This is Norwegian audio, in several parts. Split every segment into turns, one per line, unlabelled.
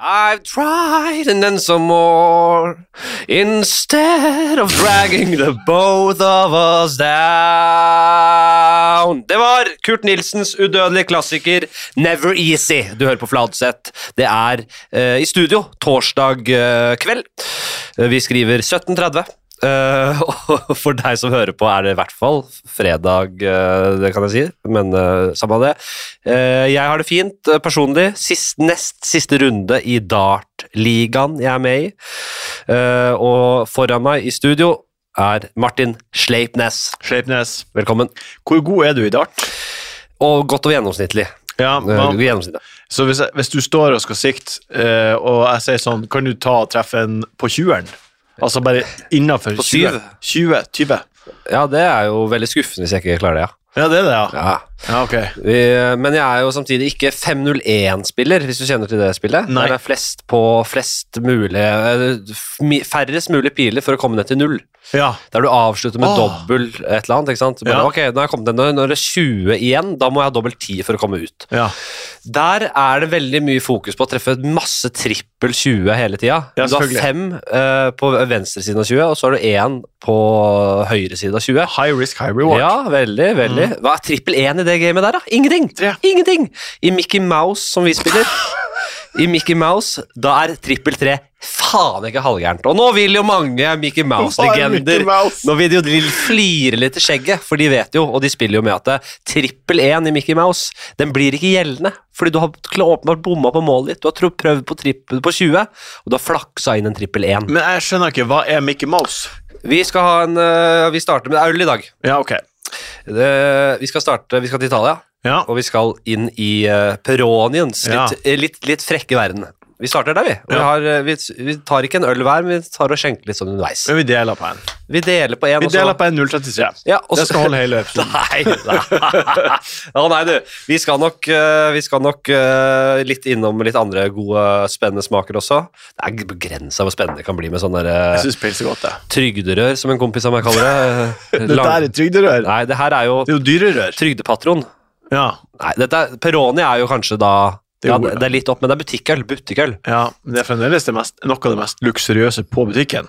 I've tried and then some more instead of dragging the both of us down. Det var Kurt Nilsens udødelige klassiker Never Easy. Du hører på Fladseth. Det er eh, i studio torsdag eh, kveld. Eh, Vi skriver 17.30. Eh, og for deg som hører på, er det i hvert fall fredag, eh, det kan jeg si. Men eh, samme av det. Eh, jeg har det fint eh, personlig. Sist, nest siste runde i Dart-ligaen jeg er med i. Eh, og foran meg i studio er Martin Sleipnes.
Sleipnes,
Velkommen.
hvor god er du i dart?
Og godt over gjennomsnittlig.
Ja,
Eh,
man,
gjennomsnittlig.
så hvis, jeg, hvis du står og skal sikte, eh, og jeg sier sånn, kan du ta og treffe en på 20-eren? Altså bare innenfor
På
20? 20, 20.
Ja, det er jo veldig skuffende hvis jeg ikke klarer det,
Ja, det er det, ja.
ja. ja.
Ja, ok.
Vi, Eh, men jeg er jo samtidig ikke 501-spiller, hvis du kjenner til det spillet.
Nei.
Der det er flest på flest mulig eh, f- mi- Færrest mulig piler for å komme ned til null.
Ja,
Der du avslutter med
Åh.
dobbel et eller annet. ikke sant? Bare,
Ja.
Ok, nå er jeg kommet ned, nå- nå er det 20 igjen, da må jeg ha dobbelt 10 for å komme ut.
ja.
Der er det veldig mye fokus på å treffe masse trippel 20 hele tida.
Ja,
du har
selvfølgelig.
fem eh, på venstresiden av 20, og så har du én på høyresiden av 20.
High risk, high reward.
Ja, veldig, veldig. Hva er trippel én i det gamet der, da? Ingenting!
Tre.
Ingenting! I Mickey Mouse, som vi spiller, i Mickey Mouse, da er trippel tre faen ikke halvgærent. Og nå vil jo mange Mickey Mouse-legender
Mouse.
Nå vil de jo de flire litt i skjegget, for de vet jo, og de spiller jo med at det- trippel én i Mickey Mouse, den blir ikke gjeldende. Fordi du har kl- åpenbart bomma på målet ditt. Du har tro- prøvd på trippel på 20, og du har flaksa inn en trippel én.
Men jeg skjønner ikke, hva er Mickey Mouse?
Vi skal ha en øh, Vi starter med øl i dag.
Ja, ok.
Det, vi skal starte Vi skal til Italia.
Ja,
Og vi skal inn i uh, Peroniens
Ja.
litt, eh, litt, litt frekke verden. Vi starter der, vi. Og Vi,
Ja.
har, eh, vi. Vi tar ikke en øl hver, men vi tar og skjenker litt sånn underveis.
men vi deler på en.
Vi deler på én,
Vi deler på en 0,33.
ja, og så-
Det skal holde hele episoden.
Nei, nei. Å nei, du. Vi skal nok, eh, vi skal nok eh, litt innom litt andre gode, spennende smaker også. Det er begrensa hvor spennende det kan bli med sånne
Jeg
der, eh,
synes pils er godt, det.
trygderør, som en kompis av meg kaller det. Eh,
Dette
lang-
er et trygderør.
Nei, det her er jo
Det er jo dyrerør.
trygdepatron.
Ja,
Nei, dette er, Peroni er jo kanskje da
Det er
ja,
ordet.
det er litt opp, men det er butikkøl. Butikkøl.
ja. men Det er fremdeles det mest, noe av det mest luksuriøse på butikken.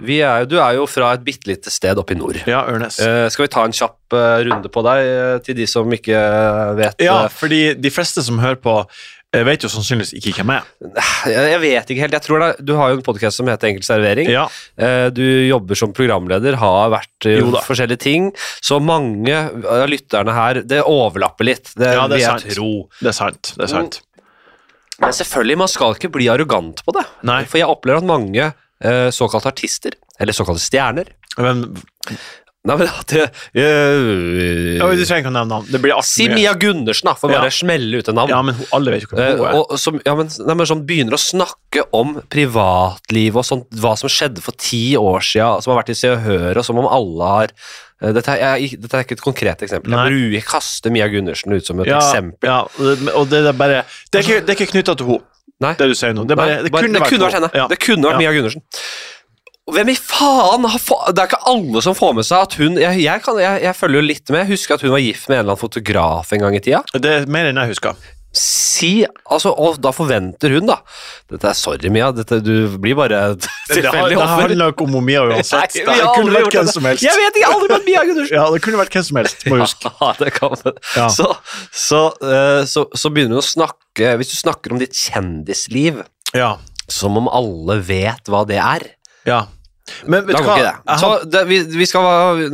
Vi er, jo- du er jo fra et bitte lite sted oppe i nord.
Ja, Ørnes.
Eh, skal vi ta en kjapp eh, runde på deg, eh, til de som ikke vet
Ja,
eh,
fordi de fleste som hører på, eh, vet jo sannsynligvis ikke hvem jeg er.
Jeg jeg vet ikke helt. jeg tror det, er- Du har jo en podkast som heter Enkel servering.
Ja,
Eh, Du jobber som programleder, har vært i
Jo da.
forskjellige ting. Så mange av lytterne her Det overlapper litt. Det,
Ja,
vil
det er
jeg
sant.
tro.
det er sant. Det er sant.
Men selvfølgelig, man skal ikke bli arrogant på det.
Mm. Nei.
For jeg opplever at mange eh, såkalte artister, eller såkalte stjerner
Men
Nei, men at eh, det
ja,
øh,
Du trenger ikke å nevne navn. Det blir
Si
artig. mye.
Mia Gundersen, da, for
Ja.
bare å smelle ut et navn.
Ja, men hun- alle vet jo
Eh,
hvem hun er.
og som, ja, men, nei, men som begynner å snakke om privatliv og sånt, hva som skjedde for ti år siden, som har vært i Se og Hør, og som om alle har eh, dette, er, jeg, dette er ikke et konkret eksempel.
Nei.
Jeg bruker kaste Mia Gundersen ut som et
Ja,
eksempel.
ja, og det- og det er bare Det er ikke, det er ikke knytta til henne,
Nei.
det du sier nå. Det, er bare,
Nei, bare- det kunne vært henne.
Ja.
Det kunne vært
Ja.
Mia Gundersen. Hvem i faen har fa Det er ikke alle som får med seg at hun jeg, jeg, kan, jeg, jeg følger jo litt med. Jeg husker at hun var gift med en eller annen fotograf en gang i tida.
Det er mer enn jeg husker.
Si, altså, Og da forventer hun, da Dette er sorry, Mia. Dette, du blir bare
Det, har-
tilfeldig
det
offer.
handler ikke om hun Mia uansett.
Nei,
Det
vi har
kunne
aldri
vært
gjort
hvem
dette.
som helst.
Jeg vet ikke, jeg har aldri møtt Mia Gundersen!
Ja, det kunne vært hvem som helst. Må huske.
Ja, det kan man.
Ja.
Så, så, eh, så, så begynner hun å snakke Hvis du snakker om ditt kjendisliv,
Ja.
som om alle vet hva det er.
ja. Men vet
Da
du
går
hva?
ikke det. Sånn
Jeg
Så
har-
det, vi, vi skal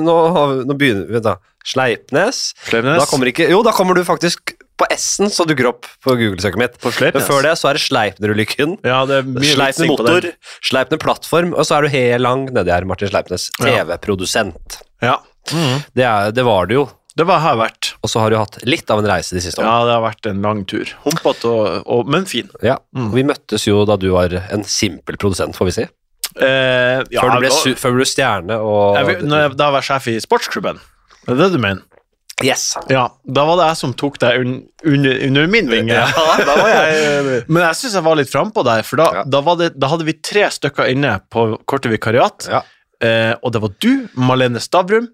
Nå, har vi- nå begynner vi, da. Sleipnes.
Sleipnes.
Da kommer ikke Jo, da kommer du faktisk på S-en, så dukker opp på Google-søket mitt.
På
Men
Sleipnes.
før det så er det Sleipner-ulykken.
Ja, det er mye
Sleipner
vitsing på
motor,
den.
Sleipner plattform, og så er du helt lang nedi her, Martin Sleipnes.
Ja.
TV-produsent.
Ja.
Det, er- det var du jo.
Det var her verdt.
Og så har du hatt litt av en reise de siste årene.
Ja, det har vært en lang tur. Humpete, og, og, men fin.
Ja.
Mm.
Og Vi møttes jo da du var en simpel produsent, får vi si.
Eh, ja,
Før du ble,
da-
su før du ble stjerne og
jeg, vil- når jeg, da var jeg sjef i sportsklubben. Er det det du mener?
Yes.
Ja, da var det jeg som tok deg un, under, under min vinge.
da var jeg
Men jeg syns jeg var litt frampå der, for da,
Ja.
da, var det, da hadde vi tre stykker inne på korte vikariat.
Ja.
Eh, og det var du, Malene Stavrum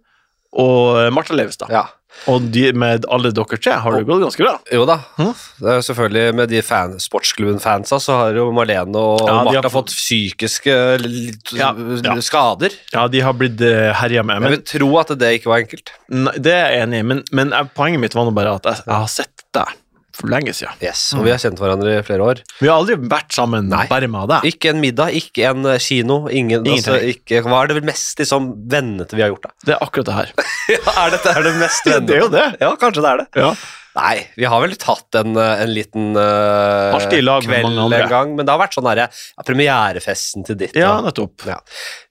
og Marta Leivestad.
Ja.
Og de, med alle dere tre har det jo gått ganske bra.
Jo da.
Hm?
Det er jo selvfølgelig Med de fan, sportsklubben-fansa så har jo Marlene og
Ja, de har
Martha
fått-
fått psykiske litt,
Ja, ja.
skader.
Ja, de har blitt eh, herja
Jeg
med. Men,
vil tro at det ikke var enkelt.
nei, det er jeg enig i, men, men eh, poenget mitt var nå bare at jeg, jeg har sett deg for lenge siden.
Yes, Og vi har kjent hverandre i flere år.
Vi har aldri vært sammen
Nei.
bare med deg.
Ikke en middag, ikke en eh, kino. Ingen, altså, ikke, hva er det mest liksom, vennete vi har gjort, da?
Det er akkurat det her.
Ja, er dette er det mest vennete?
det er jo det.
Ja, kanskje det er det.
Ja.
Nei, vi har vel tatt en, eh, en liten eh,
Alltid i lag med
kveld
mange andre.
en gang, men det har vært sånn derre ja, premierefesten til ditt.
ja,
og-
nettopp.
ja.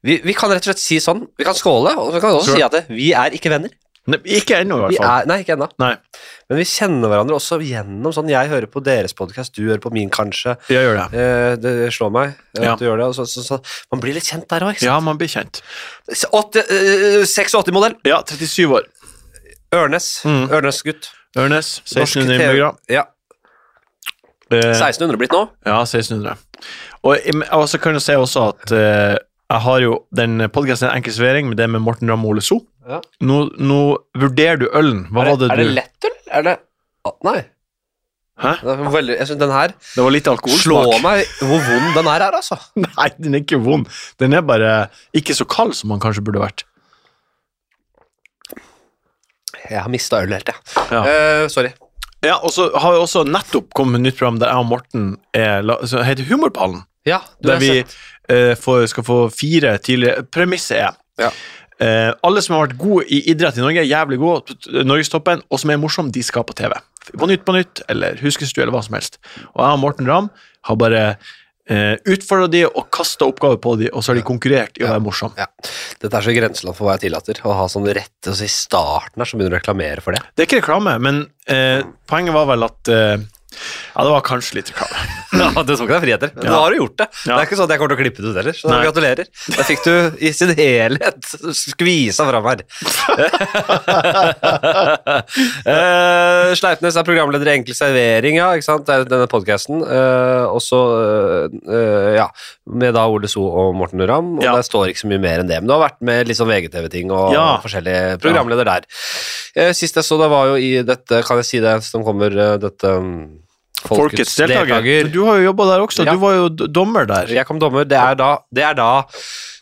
Vi, vi kan rett og slett si sånn, vi kan skåle, og vi kan også
Sure.
si at det, vi er ikke venner.
Ne, ikke ennå, i
Vi
hvert fall.
er, nei, ikke ennå.
Nei,
Men vi kjenner hverandre også gjennom sånn, jeg hører på deres podcast, du hører på min kanskje.
jeg gjør det.
Eh, det slår meg eh,
Ja.
at du gjør det. Og så, så, så, man blir litt kjent der òg, ikke
Ja, man blir kjent.
sant? eh, 86-modell.
Ja, 37 år.
Ørnes.
Mm.
Ørnes-gutt.
Ørnes,
Norsk
1600
TV.
innbyggere.
Ja.
Eh,
1600 blitt nå.
Ja, 1600. Og, jeg- og så kan du se også at eh, jeg har jo den podkasten Enkel servering med det med Morten Ramm og Ole So.
Ja.
Nå, nå vurderer du ølen. Hva
er
var det
er
du
det lettøl? Er det Å, Nei.
Hæ?
Det er veldig, jeg synes den her
Det var litt alkoholsmak.
slår meg hvor vond den her er, altså.
Nei, den er ikke vond. Den er bare ikke så kald som man kanskje burde vært.
Jeg har mista øl helt, jeg.
Ja.
Eh, sorry.
Ja, og så har vi også nettopp kommet med et nytt program der jeg og Morten er, la- som heter Humorpallen.
Ja, du
Der
har
vi
sett.
eh, får, skal få fire tidligere Premisset er
Ja.
eh, alle som har vært gode i idrett i Norge, jævlig gode, t- norgestoppen, og som er morsomme, de skal på TV. På Nytt på Nytt eller Huskestue eller hva som helst. Og jeg og Morten Ramm har bare eh, utfordra de og kasta oppgaver på de, og så har de konkurrert i å være morsomme.
Ja. Dette er så grenseland for hva jeg tillater. Å ha sånn rett og så I starten her så begynner du å reklamere for det.
Det er ikke reklame, men eh, poenget var vel at eh, Ja, det var kanskje litt reklame.
Ja, Du tok deg friheter. men Nå har du gjort det.
Ja.
Det er ikke sånn at jeg kommer til å klippe det ut heller. Så
Nei.
gratulerer. Da fikk du i sin helhet skvisa fram her. Eh, Sleipnes er programleder i Enkel servering, ja. Ikke sant? Det er denne podkasten. og så, eh, eh, ja Med da Ole So og Morten Ramm. Og
Ja.
der står ikke så mye mer enn det. Men du har vært med litt sånn VGTV-ting og
Ja.
forskjellige programleder der. Eh, Sist jeg så deg, var jo i dette Kan jeg si det som kommer, eh, dette mm,
Folkets deltaker. Du har jo jobba der også.
Ja.
Du var jo d- dommer der.
jeg kom dommer, det er da, det er da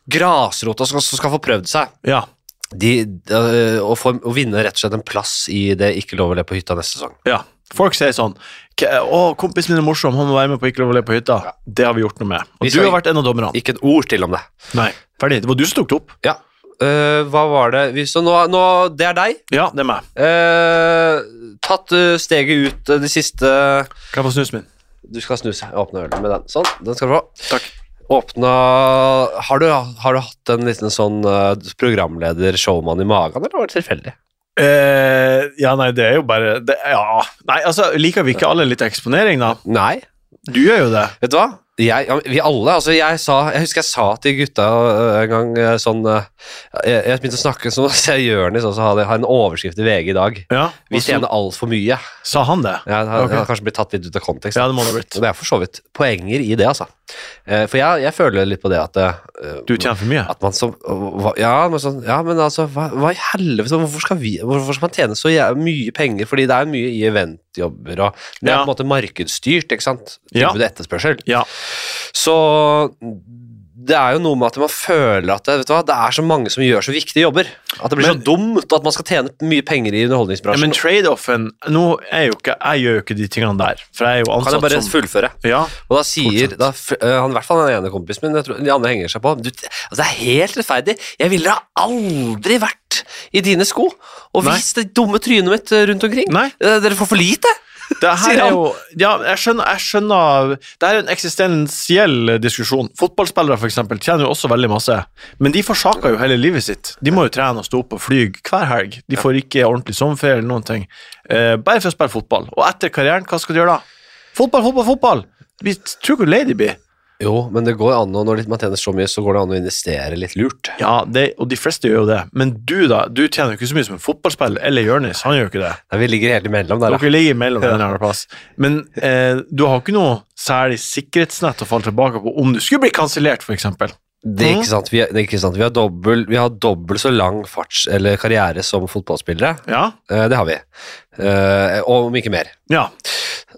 grasrota som som skal få prøvd seg.
Ja.
De, øh, å, få, å vinne rett og slett en plass i det Ikke lov å le på hytta neste sesong.
Ja. Folk sier sånn «K- 'Å, kompisen min er morsom, han må være med på Ikke lov å le på hytta'. Det har vi gjort noe med. Og
Vi
du
skal-
har vært en av dommerne.
Ikke et ord til om det.
Nei, ferdig. Det var du som tok det opp.
Ja. Øh, hva var det Vi- Så nå, nå Det er deg.
Ja, det er meg.
Øh, tatt øh, steget ut øh, det siste
Kan jeg få snusen min?
Du skal snu seg. Åpne ølen med den. Sånn, den skal du få.
Takk.
Åpna Har du, har du hatt en liten sånn øh, programleder-showman i magen, eller var det tilfeldig?
Eh, ja, nei, det er jo bare det, Ja. Nei, altså, liker vi ikke alle litt eksponering, da?
Nei.
Du gjør jo det.
Vet du hva? Jeg, ja, vi alle, altså jeg sa Jeg husker jeg sa til gutta øh, en gang øh, sånn øh, Jeg, jeg begynte å snakke sånn så jeg Jørnis også har, det- har en overskrift i VG i dag.
Ja.
Vi
og så
tjener altfor mye. Jeg,
Sa han det?
har,
Ok.
jeg har kanskje blitt tatt litt ut av kontekst.
Ja, det må det ha blitt.
Og det er for så vidt poenger i det, altså. Eh, For jeg, jeg føler litt på det at eh,
Du tjener for mye?
at man som hva- Ja, men, sånn, ja, men altså, hva, hva i helvete hvorfor skal, vi, hvorfor skal man tjene så jæ- mye penger? Fordi det er mye i eventjobber, og det er
Ja.
på en måte markedsstyrt, ikke sant?
Ja.
Tilbud og etterspørsel.
Ja.
Så det er jo noe med at man føler at det, vet du hva, det er så mange som gjør så viktige jobber. At det blir
Men-
så dumt at man skal tjene mye penger i
Ja,
underholdningsbransjen.
men trade-offen Nå er jo ikke Jeg gjør jo ikke de tingene der, for jeg er jo
kan jeg
ansatt
bare
som
fullføre?
Ja.
Og da sier
Fortsett.
da, f- øh, han, i hvert fall den ene kompisen min, jeg tror, de andre henger seg på du, altså, Det er helt rettferdig. Jeg ville da aldri vært i dine sko og
Nei.
vist det dumme trynet mitt øh, rundt omkring.
Nei.
Eh, Dere får for lite.
Det her
Sier
er
han.
jo Ja, jeg skjønner, jeg skjønner Det her er en eksistensiell diskusjon. Fotballspillere for eksempel, tjener jo også veldig masse, men de forsaker jo hele livet sitt. De må jo trene og stå opp og fly hver helg. De får ikke ordentlig sommerferie eller noen ting. Eh, bare for å spille fotball. Og etter karrieren, hva skal de gjøre da? Fotball, fotball, fotball! Vi tror ikke Lady blir.
Jo, men det går an å, når man tjener så mye, så går det an å investere litt lurt.
Ja, det, og de fleste gjør jo det. Men du, da? Du tjener jo ikke så mye som en fotballspiller. Eller Jonis, han gjør jo ikke det.
Nei, vi ligger helt imellom der, da.
Dere ligger mellom en eller annen plass. Men eh, du har ikke noe særlig sikkerhetsnett å falle tilbake på om du skulle bli kansellert, f.eks.
Det er ikke sant. Vi, er, det er ikke sant. vi har dobbel- vi har dobbelt så lang farts, eller karriere som fotballspillere.
Ja.
Eh, Det har vi. Eh, Om ikke mer.
Ja.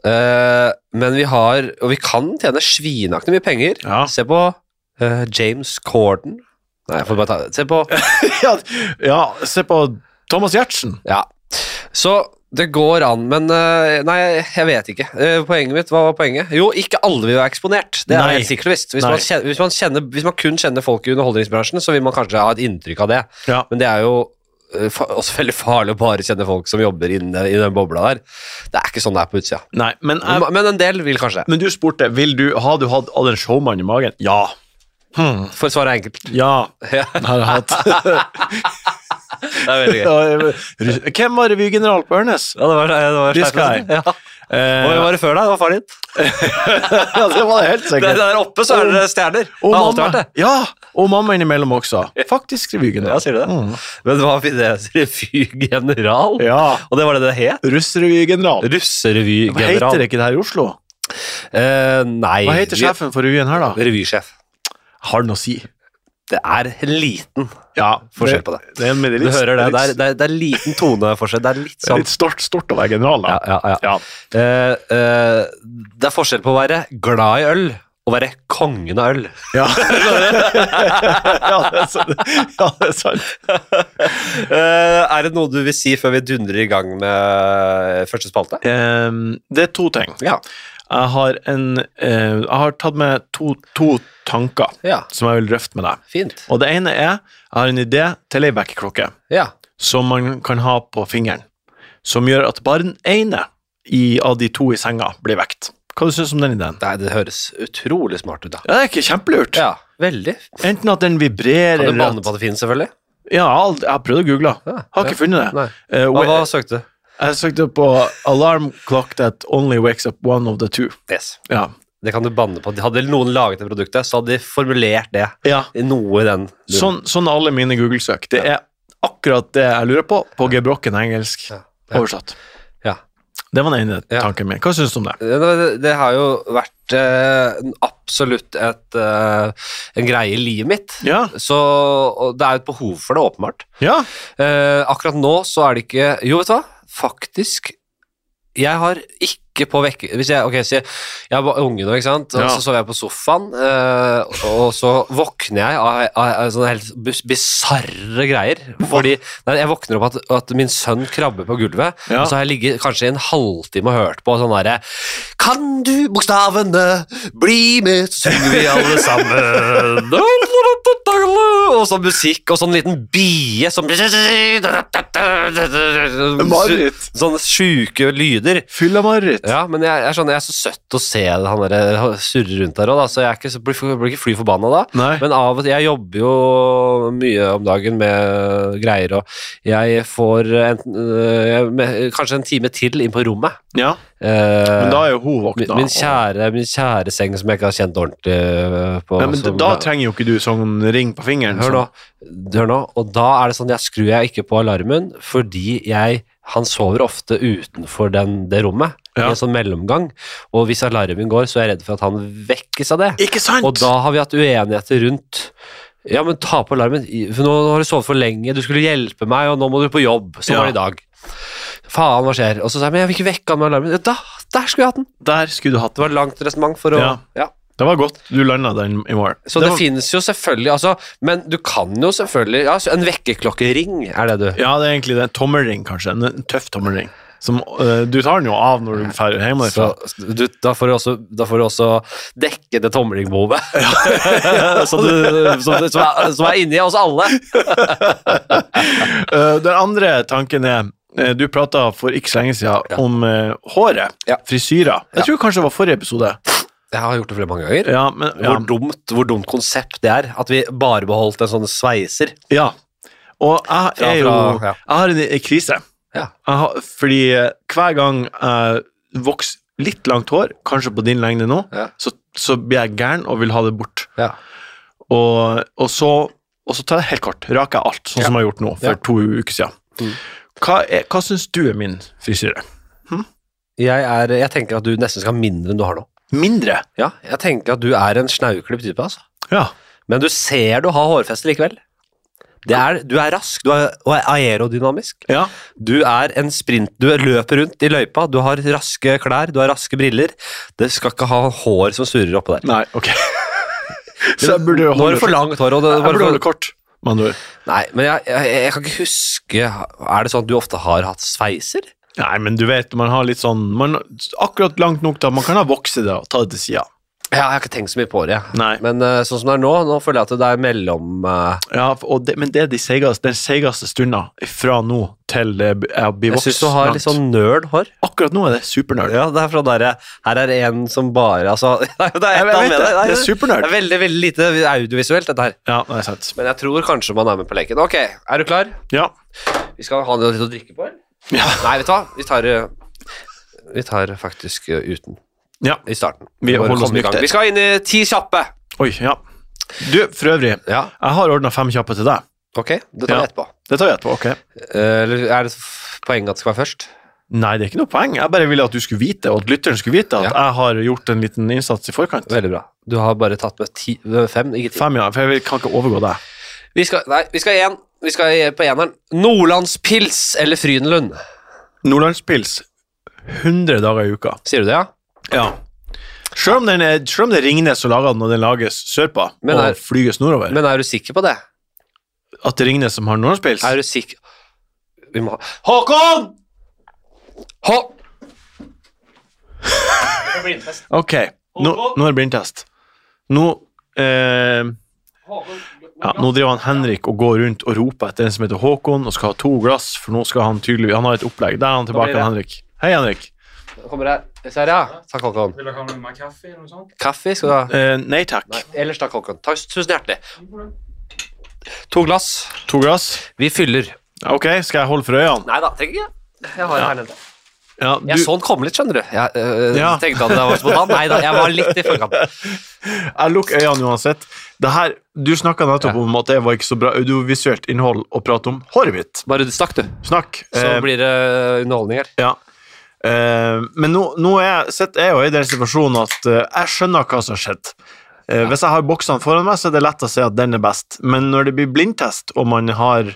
Eh, Men vi har Og vi kan tjene svinaktig mye penger.
Ja.
Se på eh, James Corden. Nei, jeg får bare ta Se på
ja. ja. Se på Thomas Giertsen.
Ja. Så det går an, men eh, Nei, jeg vet ikke. Eh, Poenget mitt, hva var poenget? Jo, ikke alle vil være eksponert. Det er
Nei.
helt sikkert og visst. Hvis
Nei.
man, kjenner, hvis, man kjenner, hvis man kun kjenner folk i underholdningsbransjen, så vil man kanskje ha et inntrykk av det.
Ja.
Men det er jo eh, fa- også veldig farlig å bare kjenne folk som jobber inne i den bobla der. Det er ikke sånn det er på utsida.
Nei, men, jeg,
Men en del vil kanskje det.
men du spurte vil du, har du hatt all den showmannen i magen. Ja.
For svaret er enkelt.
Ja.
Ja,
Har jeg hatt.
det er veldig gøy.
Hvem var revygeneral på Ørnes?
Ja, det var, det var
This guy.
Ja. Og
Eh,
hvem var det før deg? Det var faren din.
ja, det var det helt
Der,
sikkert.
der oppe så er det stjerner.
Og
det har alltid vært
mamma,
det.
ja, og mamma innimellom også. Faktisk
Ja,
revygeneral.
sier du det? Men hva var det? Revygeneral?
Ja.
Og det var det det het?
Russrevygeneral. Hva heter
Russerevygeneral.
det ikke det her i Oslo?
Eh, nei
Hva heter
vi-
sjefen for revyen her, da?
Revysjef.
Har den å si.
Det er liten
Ja,
forskjell på det.
Det er
Du
en medalist.
hører det. Det er,
litt-
det er, det er liten toneforskjell. Det er litt
det er
sånn
litt stort, stort å være general, da.
ja, ja, ja.
Ja.
Eh, eh, Det er forskjell på å være glad i øl og være kongen av øl.
Ja, ja, det, er sant. ja det er sant.
Eh, er det noe du vil si før vi dundrer i gang med første spalte?
Ehm, det er to ting.
Ja.
Jeg har, en, eh, jeg har tatt med to, to tanker
Ja,
som jeg vil drøfte med deg.
fint.
Og det ene er jeg har en idé til ei vekkerklokke
Ja.
som man kan ha på fingeren, som gjør at bare den ene i, av de to i senga blir vekt. Hva du syns du om den ideen?
Nei, det høres utrolig smart ut, da.
Ja, det er ikke kjempelurt.
Ja, veldig.
Enten at den vibrerer
Kan du
eller at-
banne på at det finnes, selvfølgelig?
Ja, alt- jeg har prøvd å google.
Ja,
Har ikke funnet det.
Nei.
Eh,
Hva, hva
wa-
søkte du?
jeg søkte på 'alarm clock that only wakes up one of the two'.
Yes.
Ja.
Det kan du banne på. Hadde noen laget det produktet, så hadde de formulert det
ja.
i noe i den duren.
Sånn, sånn er alle mine Google-søk. Det er akkurat det jeg lurer på, på gebrokken engelsk.
Ja. Ja.
Oversatt.
Ja.
Det var den ene
Ja.
tanken min. Hva syns du om det?
Det, det- det har jo vært eh, en- absolutt et, eh, en greie i livet mitt.
Ja.
Så og det er jo et behov for det, åpenbart.
ja.
Eh, akkurat nå så er det ikke Jo, vet du hva? Faktisk Jeg har ikke på vekker Hvis jeg Ok, så jeg, jeg var unge nå, ikke sant? Og
Ja.
så sov jeg på sofaen, eh, og så våkner jeg av, av, av sånne helt bus- bisarre greier. Fordi nei, jeg våkner opp at, at min sønn krabber på gulvet,
Ja.
og så har jeg ligget kanskje i en halvtime og hørt på sånn derre Kan du bokstavene, bli med, så synger vi alle sammen. Og sånn musikk, og sånn liten bie som
Mareritt.
Sånne sjuke lyder.
Fylla-mareritt.
Ja, men jeg, jeg, skjønner, jeg er så søtt å se han der surre rundt der òg, da, så jeg er ikke, så- blir, blir ikke fly forbanna da.
Nei.
Men av og til, jeg jobber jo mye om dagen med greier, og jeg får enten, øh, jeg, med, kanskje en time til inn på rommet.
ja.
Eh,
Men da er jo hun
min,
våkna.
min, kjære, min kjære seng som jeg ikke har kjent ordentlig øh, på.
Nei, men
som-
da trenger jo ikke du sånn ring på fingeren.
Hør nå,
sånn.
hør nå. Og da er det sånn, jeg skrur jeg ikke på alarmen, fordi jeg, han sover ofte utenfor den, det rommet,
Ja.
i en sånn mellomgang. Og hvis alarmen går, så er jeg redd for at han vekkes av det.
Ikke sant?
Og da har vi hatt uenigheter rundt Ja, men ta på alarmen, i- for nå har du sovet for lenge, du skulle hjelpe meg, og nå må du på jobb. Sånn
Ja.
var det i dag. Faen, hva skjer? Og så sa jeg, men jeg vil ikke vekke han med alarmen. Ja, Da, der skulle jeg hatt den!
Der skulle du hatt
Det var langt resonnement for å
Ja.
ja.
Det var godt du landa den i morgen.
Så det,
var,
finnes jo selvfølgelig altså, Men du kan jo selvfølgelig ja, så En vekkerklokkering er det du
ja, det er egentlig det. En tommelring, kanskje. En, en tøff tommelring. Som, øh, du tar den jo av når du drar hjemmefra.
så, du, da, får du også, da får du også dekke det tommelingbehovet som, du- som, du- som, er- som er inni oss alle.
Eh, Den andre tanken er eh, Du prata for ikke så lenge siden
Ja.
om eh, håret.
Ja.
Frisyrer. Jeg
Ja.
tror kanskje det var forrige episode.
Jeg har gjort det flere mange ganger.
Ja, men, ja.
Hvor, dumt, hvor dumt konsept det er at vi bare beholdt en sånn sveiser.
ja. Og jeg
Fra-
er jo
fra- ja.
Jeg har en en krise.
Ja.
Jeg har, fordi eh, hver gang jeg vokser litt langt hår, kanskje på din lengde nå,
Ja.
så, så blir jeg gæren og vil ha det bort.
Ja.
Og, og, så, og så tar jeg det helt kort. Raker jeg alt, sånn
Ja.
som jeg har gjort nå for
Ja.
to uker siden.
Mm.
Hva, er- hva syns du er min frisyre?
Jeg, er, jeg tenker at du nesten skal ha mindre enn du har nå.
Mindre?
Ja, jeg tenker at du er en snauklipp type. Altså.
Ja.
Men du ser du har hårfeste likevel. Det er, du er rask du er, og er aerodynamisk.
Ja.
Du er en sprint, du løper rundt i løypa, du har raske klær, du har raske briller. Det skal ikke ha hår som surrer oppå der.
Nei, ok. Så jeg burde jo
Nå er det for
holde,
langt hår. Og det,
jeg
bare
burde
for-
holde kort. med andre ord.
Nei, men jeg, jeg, jeg kan ikke huske Er det sånn at du ofte har hatt sveiser?
Nei, men du vet, man har litt sånn man, Akkurat langt nok til at man kan ha vokst i det og ta det til sida.
Ja, jeg har ikke tenkt så mye på det. jeg.
Nei.
Men eh, sånn som det er nå, nå føler jeg at det er mellom eh,
Ja, og det, men det er de seigeste, den seigeste stunda fra nå til det b- jeg blir
Jeg
voksen.
syns du har litt sånn nerd hår.
Akkurat nå er det supernerd.
Ja, det er fra der jeg, Her er det en som bare altså, Det er, det er, et
Jeg
eller annet
vet
med
det,
Nei,
det er supernerd.
Det er veldig, veldig lite audiovisuelt, dette her.
Ja, det er sant.
Men jeg tror kanskje man er med på leken. Ok, er du klar?
Ja.
Vi skal ha noe litt å drikke på, eller?
Ja.
Nei, vet du hva? Vi tar, eh, vi tar faktisk eh, uten
ja.
i starten.
Vi
bare
holder oss
kommer i gang.
nykter.
Vi skal inn i ti kjappe.
Oi, ja. Du, for øvrig,
Ja,
jeg har ordna fem kjappe til deg.
ok. Det tar vi
Ja.
etterpå.
Det tar vi etterpå, ok?
Eh, Eller er det f- poenget at det skal være først?
Nei, det er ikke noe poeng. Jeg bare ville at du skulle vite, og at lytteren skulle vite, at jeg har gjort en liten innsats i forkant.
Veldig bra. Du har bare tatt med ti, fem, ikke ti.
Fem, ja, for jeg vil- kan ikke overgå deg.
Vi skal, nei, vi skal igjen. Vi skal i- på eneren. Nordlandspils eller Frydenlund?
Nordlandspils 100 dager i uka.
Sier du det, ja?
Ja. Selv om, den er, selv om det er Ringnes som lager den, og den lages sørpå
Men er-
og flyges nordover
Men er du sikker på det?
At det er Ringnes som har Nordlandspils?
Er du sikker Vi må ha Håkon! Hå...
Ok, nå, nå er det blindtest. Nå eh, ja, Nå driver han Henrik og går rundt og roper etter en som heter Håkon, og skal ha to glass, for nå skal han tydelig Han har et opplegg. Der er han tilbake,
blir det.
han Henrik. Hei, Henrik.
Kommer her. Se her, ja. Takk, Håkon.
Vil dere ha noe mer kaffe eller noe sånt?
Kaffe skal du ha.
Eh, nei takk.
Nei, ellers takk, Håkon. Takk, tusen hjertelig. To glass.
To glass?
Vi fyller.
Ok, skal jeg holde for øynene?
Nei da, trenger ikke. Jeg har det her nede.
Ja,
Jeg
du,
så den komme litt, skjønner du. Jeg øh,
Ja.
tenkte at det var spontan. Nei da, jeg var litt i forkant.
jeg lukker øynene uansett. Det her, du snakka nettopp om at det var ikke så bra audiovisuelt innhold å prate om håret mitt.
Bare du stakk, du.
Snakk.
Så
Eh,
blir det underholdning her.
Ja. Eh, men nå, nå er jeg, sitter jeg jo i den situasjonen at eh, jeg skjønner hva som har skjedd. Eh, Hvis jeg har boksene foran meg, så er det lett å se at den er best. Men når det blir blindtest, og man har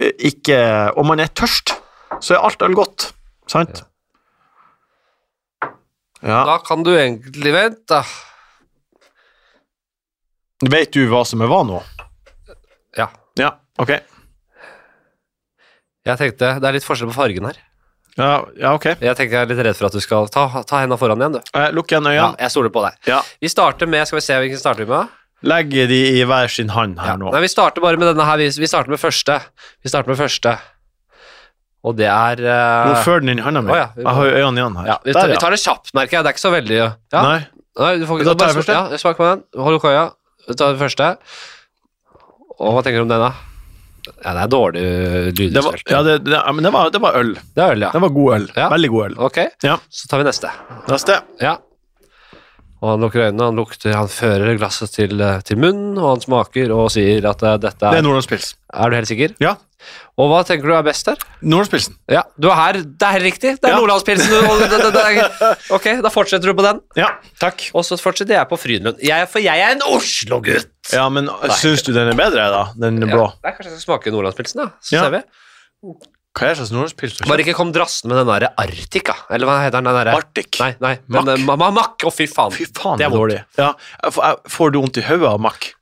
eh, ikke Og man er tørst, så er alt øl godt. Sant? Ja.
Da kan du egentlig vente.
Vet du hva som er hva nå?
Ja.
Ja, ok.
Jeg tenkte, Det er litt forskjell på fargen her.
Ja, ja ok.
Jeg tenkte jeg er litt redd for at du skal ta, ta henda foran igjen, du.
Eh, Lukk igjen
Ja,
øynene.
jeg stoler på deg.
Ja.
Vi starter med Skal vi se hvilken starter vi med?
Legg de i hver sin hånd
Ja.
her nå.
Nei, vi starter bare med denne her. Vi, vi starter med første. Vi starter med første. Og det er
Nå
eh,
før den inn i hånda mi.
Å, ja.
Jeg har jo øynene igjen her.
ja, vi, tar,
Der,
vi tar det kjapt, merker jeg. Det er ikke så veldig ja.
Nei.
Nei, du får
Da
ikke
tar jeg
bare-
første.
Ja, smak på den. Hold lukk øya. Ta den første. Og hva tenker du om den, da? Ja, det er dårlig
Det var,
lydinnspilt.
ja, det, det, ja, men det var, det var øl.
Det er øl, ja.
Det var god øl.
Ja.
Veldig god øl.
Ok,
Ja.
så tar vi neste.
Neste.
Ja. Og han lukker øynene, han, lukter, han fører glasset til, eh, til munnen, og han smaker og sier at eh, dette
Det
er
er Nordlandspils.
Er du helt sikker?
Ja.
Og hva tenker du er best her?
Nordlandspilsen.
Ja, du er her. Det er helt riktig. Det er
Ja.
Nordlandspilsen. og det- det- det er- Ok, da fortsetter du på den.
Ja, takk.
Og så fortsetter jeg på Frydenlund. Jeg, for jeg er en Oslo-gutt.
Ja, men syns du den er bedre, da? Den
Ja.
blå?
Nei, kanskje jeg skal smake Nordlandspilsen, da. Så
Ja.
ser vi.
Hva er slags Nordlandspils?
Bare ikke kom drassende med den derre Arctica. Eller hva heter den derre
Arctic.
Nei, nei. Mack. Den,
Mack.
eh, ma- ma- Mack. Å, fy faen.
Fy faen,
Det
det
er
er dårlig. Ja. jeg Får, jeg- får du vondt i hodet av makk?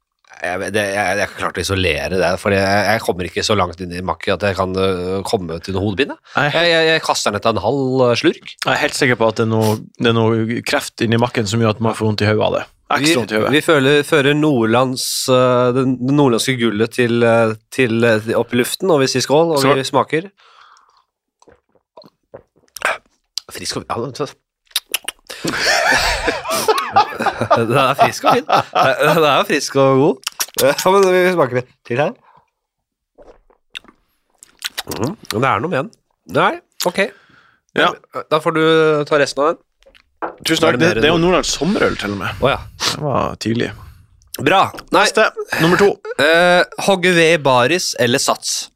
Jeg, det, jeg, jeg har ikke klart å isolere det, for jeg, jeg kommer ikke så langt inn i Mack at jeg kan øh, komme til noe hodepine.
Nei.
Jeg, jeg, jeg kaster den etter en halv øh, slurk.
Jeg er helt sikker på at det er noe, det er noe kreft inni makken som gjør at man får vondt i hodet av det.
Vi,
Ekstra vondt i hodet.
vi føler, fører Nordlands, øh, det det nordlandske gullet til, øh, til, øh, til- opp i luften, og vi sier skål, og
Skål.
vi smaker. Frisk og ja, men- Den er frisk og fin. Den er frisk og god. Ja, men vi smaker litt til her. Mm, men det er noe med den. Nei, ok.
Ja.
Da får du ta resten av den. Er
Tusen takk.
det
Det,
mer-
det er jo Nordlands sommerøl, til og med.
Å ja.
Det var tidlig.
Bra. Nei,
Neste. Nummer to.
Eh, Hogge ved i baris eller sats?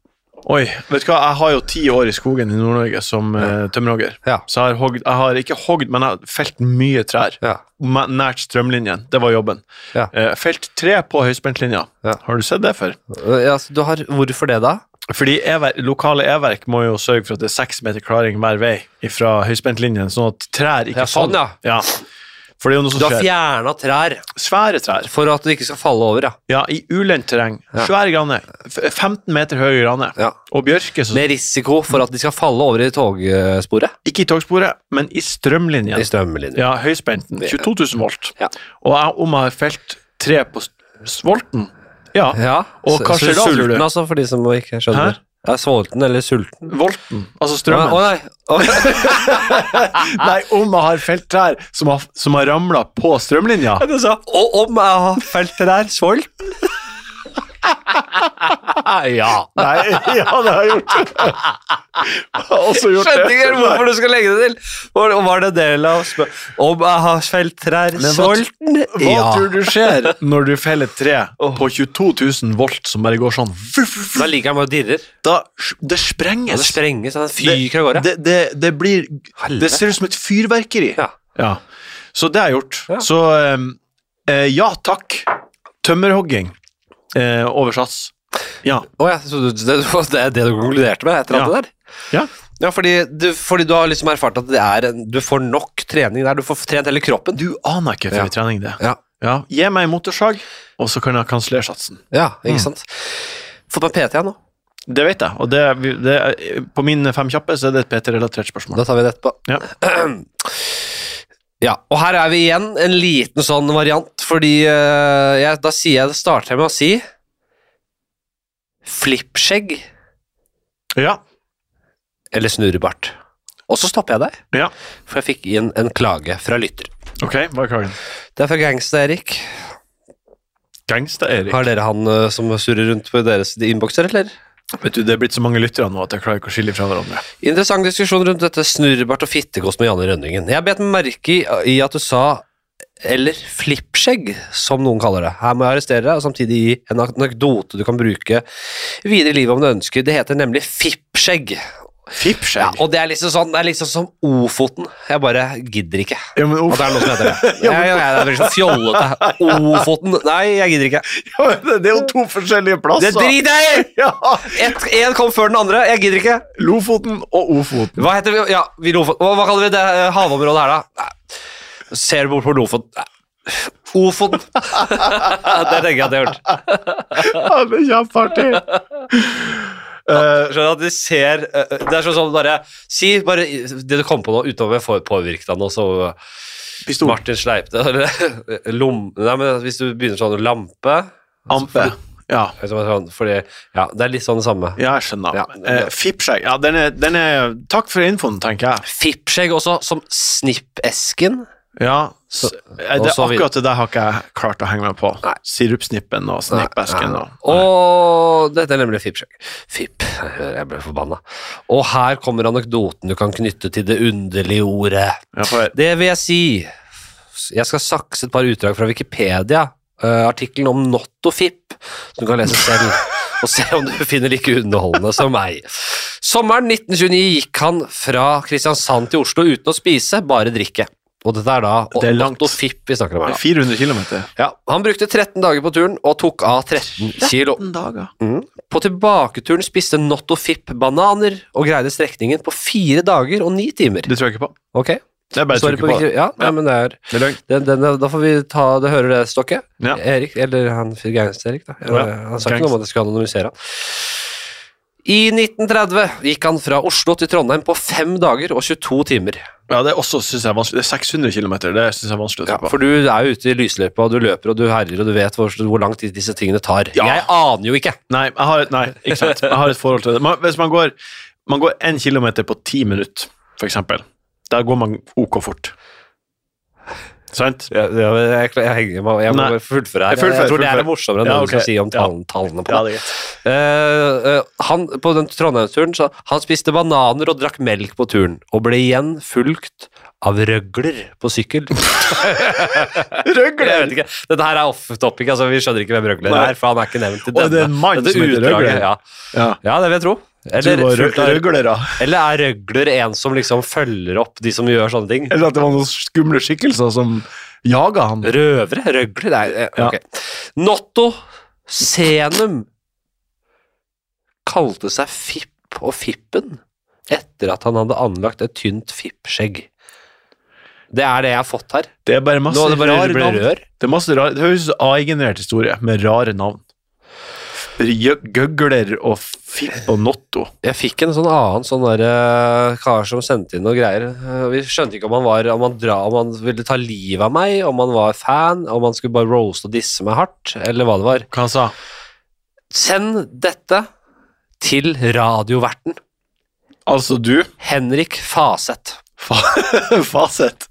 Oi, vet du hva, jeg har jo ti år i skogen i Nord-Norge som uh, tømmerhogger.
Ja.
Så jeg har, hogd, jeg har ikke hogd, men jeg har felt mye trær.
Ja.
Ma- Nært strømlinjen. Det var jobben.
Ja.
Eh, felt tre på høyspentlinja.
Ja.
Har du sett det før?
Eh, ja, så du har, hvorfor det, da?
Fordi ever, lokale e-verk må jo sørge for at det er seks meter klaring hver vei fra høyspentlinjen, sånn at trær ikke
Ja, sånn,
faller. Ja. For det er jo noe som
Du har
skjer.
fjerna trær
Svære trær.
for at det ikke skal falle over, ja.
Ja, i ulendt terreng.
Ja.
Svære graner. F- 15 meter høye graner.
Ja.
Og bjørke som
Med risiko for at de skal falle over i togsporet.
Ikke i togsporet, men i strømlinjen.
I strømlinjen.
Ja, høyspenten.
Det-
22 000 volt.
Ja.
Og jeg, om jeg har felt tre på s- s- volten Ja,
Ja,
Og
så-
hva
så
skjer da, tror
sulten,
du?
altså, for de som ikke skjønner.
Hæ?
Er sulten eller sulten?
volten. Altså
Å
strømmen.
nei. Å,
Nei, om jeg har felt trær som har, som har ramla på strømlinja
du sa, og om jeg har felt trær, sulten? ja.
Nei, ja, det har jeg gjort. Jeg har også gjort
Skjønte
det.
ikke helt hvorfor du skal legge det til. Var, var det del av spø... Om jeg har felt trær,
hva-
sulten?
Hva
Ja.
tror du skjer når du feller et tre på 22 000 volt som bare går sånn vuff, vuff,
Da ligger jeg med og dirrer.
Da Det
Ja, det
sprenges.
sprenges, han fyker av gårde.
Det, det, det blir
Helvete.
Det ser ut som et fyrverkeri.
Ja.
Så det har jeg gjort.
Ja.
Så ehm, eh, ja takk. Tømmerhogging eh, over sats. Ja.
Å ja, så du- det, det er det du konkluderte med etter alt
Ja.
det der?
Ja.
Ja, fordi du, fordi du har liksom erfart at det er en, du får nok trening der. Du får trent hele kroppen.
Du aner ikke for
Ja.
mye trening det.
Ja.
Gi meg en motorsag, og så kan jeg kansellere satsen.
Ja, ikke
Mm.
sant? Fått meg PT nå.
Det vet jeg, og det, det, på min fem kjappe så er det et PT-relatert spørsmål.
Da tar vi det etterpå.
Ja.
Ja, og her er vi igjen, en liten sånn variant, fordi eh, jeg, da sier jeg, starter jeg med å si flippskjegg
Ja.
eller snurrebart. Og så stopper jeg deg,
ja.
for jeg fikk inn en klage fra lytter.
Ok, hva er klagen?
Det er fra Gangsta Erik.
Gangster-Erik.
Har dere han eh, som surrer rundt på deres innbokser, eller?
Vet du, Det er blitt så mange lyttere nå at jeg klarer ikke å skille fra hverandre.
Interessant diskusjon rundt dette snurrebart og fittegost med Janne Rønningen. Jeg bet meg merke i, i at du sa eller flippskjegg, som noen kaller det. Her må jeg arrestere deg, og samtidig gi en anekdote du kan bruke videre i livet om du ønsker. Det heter nemlig fippskjegg. Ja,
Fippskjegg.
og det er liksom sånn, det er liksom som Ofoten. Jeg bare gidder ikke.
Ja, men
At
uff,
det er noe som heter det. Jeg, jeg, jeg, det blir så fjollete. Ofoten. Nei, jeg gidder ikke.
det er jo to forskjellige
Det
plasser!
driter jeg i!
Ja.
Ett- En kom før den andre. Jeg gidder ikke.
Lofoten og Ofoten.
Hva heter vi? Ja, vi Lofoten. Hva, hva kaller vi det eh, havområdet her, da? Nei. Ser du bort på Lofoten? Nei. Ofoten. det tenker jeg at jeg har hørt.
Ja, det er kjempeartig. Eh,
Eh, Skjønner at de ser eh, Det er sånn som bare Si bare det du kommer på nå, utover jeg får påvirket av noe, så
Pistol.
Martin Sleipne eller eh, lom... Nei, men hvis du begynner sånn lampe
Ampe. Ja.
eller sånn, Fordi Ja, det er litt sånn det samme.
ja, jeg skjønner.
Ja.
Eh, Fippskjegg. Ja, den er, den er Takk for infoen, tenker jeg.
Fippskjegg også, som snippesken.
Ja, s- eh, det,
og så videre.
Akkurat det der har ikke jeg klart å henge meg på.
Nei.
Sirupsnippen og snippesken og
Og dette er nemlig fippsjekk. Fipp. Jeg ble forbanna. Og her kommer anekdoten du kan knytte til det underlige ordet.
ja, for,
Det vil jeg si Jeg skal sakse et par utdrag fra Wikipedia. eh, Artikkelen om Nottofipp, som du kan lese selv. Og se om du finner like underholdende som meg. Sommeren 1929 gikk han fra Kristiansand til Oslo uten å spise, bare drikke. Og dette er da
Det er langt.
Nottofipp vi snakker om her.
det er
da.
400 km.
Ja, han brukte 13 dager på turen og tok av 13 kilo.
dager.
Mm. På tilbaketuren spiste Notto Fipp bananer og greide strekningen på fire dager og ni timer.
Det tror jeg ikke på.
Ok,
Det er bare å
står det
trykke
på
på.
Wiki- Ja, nei, men det er
Det er løgn.
den, den, Da får vi ta det hører det, Stokke.
Ja.
Erik, eller han Gangster-Erik, da.
Ja,
Han sa ikke noe om at jeg skulle anonymisere han. I 1930 gikk han fra Oslo til Trondheim på fem dager og 22 timer.
Ja, det er også synes jeg er vanskelig. Det er 600 km. Det syns jeg er vanskelig å
Ja,
trykke på.
for du er jo ute i lysløypa, og du løper og du herjer, og du vet hvor, hvor lang tid disse tingene tar.
Ja.
Jeg aner jo ikke.
Nei, jeg har, et- nei, ikke sant. Jeg har et forhold til det. Man, hvis man går, man går 1 km på 10 minutter, for eksempel, da går man OK fort. Sant?
Ja, ja, men jeg, jeg, henger- jeg, må, jeg må
Nei.
bare fullføre her.
Jeg fullfører,
jeg tror det er
fullfører.
det morsommere enn
Ja,
noe du
ok.
skal si om
Ja.
tall, tallene på det.
det er greit.
Eh, eh, han, på den Trondheimsturen så han spiste bananer og drakk melk på turen, og ble igjen fulgt av røgler på sykkel. Jeg vet
Røgle!
ikke, Dette her er off topic, altså vi skjønner ikke hvem røgler
Nei.
er, for han er ikke nevnt i
Og det er en mann
dette
som heter
utdraget,
Røgler.
Ja.
Ja.
ja, det vil jeg tro. Eller,
var
fullt av-
røglere.
eller er røgler en som liksom følger opp de som gjør sånne ting?
Eller at det var noen skumle skikkelser som jaga han.
Røvere? Røgler? Nei, eh,
Ja.
ok. Notto Senum kalte seg Fipp og Fippen etter at han hadde anlagt et tynt fippskjegg. Det er det jeg har fått her.
Det er bare masse
Nå er det bare
rare
ble
navn.
rør.
Det, er masse rare, det høres ut som AI-generert historie med rare navn. Gjø- Gøgler og Fipp og Notto.
Jeg fikk en sånn annen sånn der, eh, kar som sendte inn noen greier. Eh, Vi skjønte ikke om han, var, om, han dra, om han ville ta livet av meg, om han var fan, om han skulle bare roaste og disse meg hardt, eller hva det var.
Hva han sa
Send dette til radioverten
Altså du?
Henrik Faseth.
Fa Fasit.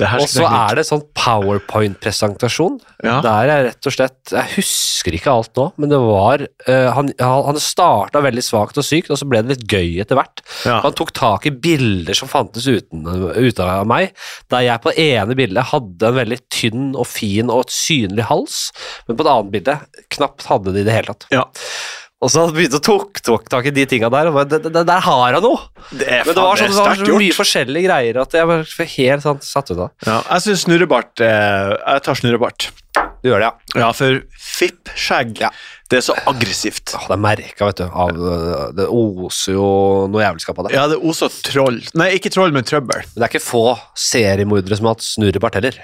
Det her
Og så er det sånn powerpoint-presentasjon.
Ja.
Der er rett og slett Jeg husker ikke alt nå, men det var eh, Han, han starta veldig svakt og sykt, og så ble det litt gøy etter hvert.
Ja.
Han tok tak i bilder som fantes uten, ute av meg, der jeg på det ene bildet hadde en veldig tynn og fin og et synlig hals, men på det andre bildet knapt hadde det i det hele tatt.
Ja.
Og så han begynte å tok, tok tak i de tinga der, og bare "Det- det- det- Der har han noe!
Det er,
Men det var, sånn, det var
faen, det er sterkt
så
gjort.
mye forskjellige greier at jeg var helt sånn, satt ut av det.
Ja, jeg syns snurrebart eh, Jeg tar snurrebart.
Du gjør det, ja.
Ja, for fippskjegg,
Ja.
det er så aggressivt.
Åh, det er merka, vet du. Av, øh, det oser jo noe jævelskap av det.
Ja, det oser troll. Nei, ikke troll, men trøbbel.
Men det er ikke få seriemordere som har hatt snurrebart heller.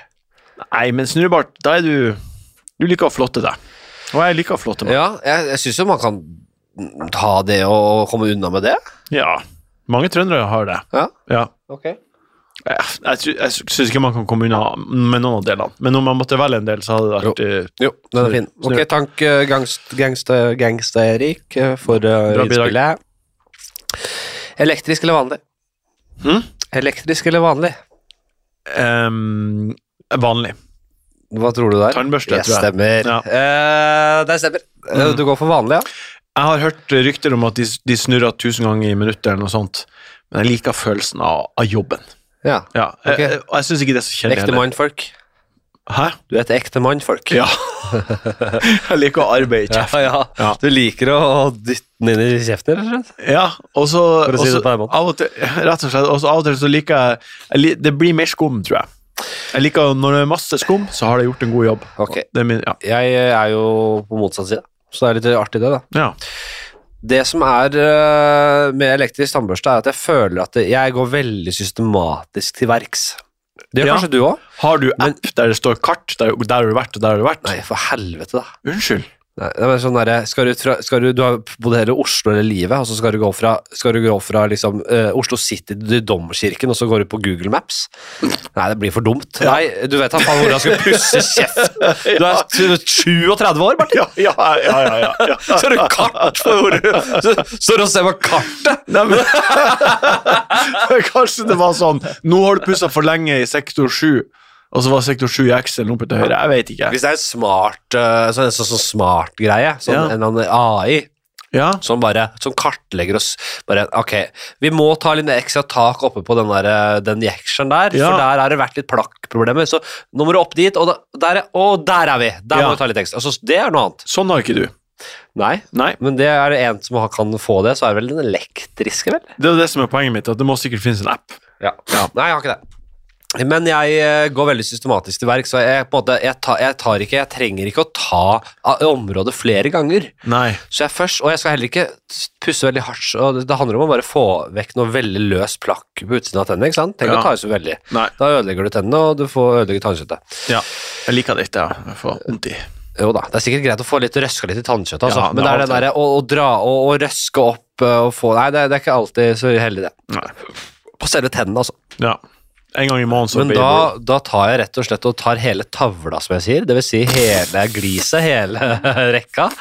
Nei, men snurrebart, da er du Du liker å flotte deg. Og jeg liker å flotte meg.
Ja, jeg, jeg syns jo man kan ta det og komme unna med det.
Ja. Mange trøndere har det.
Ja,
Ja.
ok.
Jeg, jeg, tror- jeg syns ikke man kan komme unna med noen av delene. Men om man måtte velge en del, så hadde det vært eh,
Jo, den er fin.
Snurr.
Ok, tank eh, gangst, gangster, gangster-Erik eh, for eh,
Bra bidrag.
innspillet. Elektrisk eller vanlig?
Hm?
Elektrisk eller vanlig?
eh, em, vanlig.
Hva tror du der?
Tannbørste,
Yes,
tror jeg.
stemmer.
Ja.
Eh, det stemmer. Eh, Du går for vanlig, ja?
Jeg har hørt rykter om at de, de snurrer tusen ganger i minuttet eller noe sånt, men jeg liker følelsen av, av jobben.
Ja.
Ja,
Ok.
jeg, Og jeg syns ikke det er så kjedelig.
Ekte
heller.
mannfolk.
Hæ?
Du er et ekte mannfolk.
Ja. jeg liker å arbeide i
Ja,
kjeften.
ja.
Ja.
Du liker å dytte den inn i kjeften, rett og slett?
Ja, og så
For å si
og så-
det på den måten.
Av og til, rett og slett, og så av og til så liker jeg, jeg li- Det blir mer skum, tror jeg. Jeg liker Når det er masse skum, så har jeg gjort en god jobb.
Ok.
Det er min, ja.
Jeg eh, er jo på motsatt side, så det er litt artig, det, da.
ja.
Det som er øh, med elektrisk tannbørste, er at jeg føler at det- jeg går veldig systematisk til verks. Det gjør
Ja.
kanskje du òg?
Har du app der det står kart, der, der har du vært, og der har du vært?
Nei, for helvete, da.
Unnskyld.
Nei, det er bare sånn derre, skal du, fra, skal du, du har bodd hele Oslo hele livet, og så skal du gå fra, skal du gå fra liksom, øh, Oslo City til Domkirken, og så går du på Google Maps? Nei, det blir for dumt. Nei, du vet da faen hvordan jeg skal pusse kjeften! Du er 37 år, Martin!
Ja, ja, ja, ja, ja, ja.
Så har du kart for hvor du så- Står og ser på kartet!
Nei, men, kanskje det var sånn Nå har du pussa for lenge i sektor 7, og så var sektor 7 i Excel oppe til høyre. Jeg vet ikke.
Hvis det er en smart øh, sånn, sånn, sånn smart greie, sånn,
Ja.
en eller annen AI
Ja,
som bare som kartlegger oss bare, Ok, vi må ta litt ekstra tak oppe på den der, øh, den jekselen der,
Ja.
for der har det vært litt plakkproblemer. Så nå må du opp dit, og da, der, er, og der er vi! Der
Ja.
må vi ta litt ekstra. Altså, det er noe annet.
Sånn har ikke du.
Nei.
Nei.
Men det er det en som har- kan få det, så er det vel den elektriske, vel?
Det er det som er poenget mitt, at det må sikkert finnes en app.
Nei, jeg har ikke det. Men jeg eh, går veldig systematisk til verk, så jeg, på en måte, jeg, tar, jeg, tar ikke, jeg trenger ikke å ta a- området flere ganger.
Nei.
Så jeg først, og jeg skal heller ikke pusse veldig hardt. så det- det handler om å bare få vekk noe veldig løs plakk på utsiden av tennene. ikke sant? Tenk
Ja.
å ta i så veldig.
Nei.
Da ødelegger du tennene, og du får ødelegge tannkjøttet.
Ja. Jeg liker det ikke, jeg får vondt i.
Jo da, det er sikkert greit å få litt røska litt i tannkjøttet, altså.
Ja, det
men det
er
er det
alltid-
derre å, å dra og å røske opp eh, og få Nei, det, det er ikke alltid så heldig, det.
Nei.
På selve tennene, altså.
Ja. En gang i måneden så
Men
blir det
da, da tar jeg rett og slett og tar hele tavla, som jeg sier. Det vil si hele gliset, hele rekka.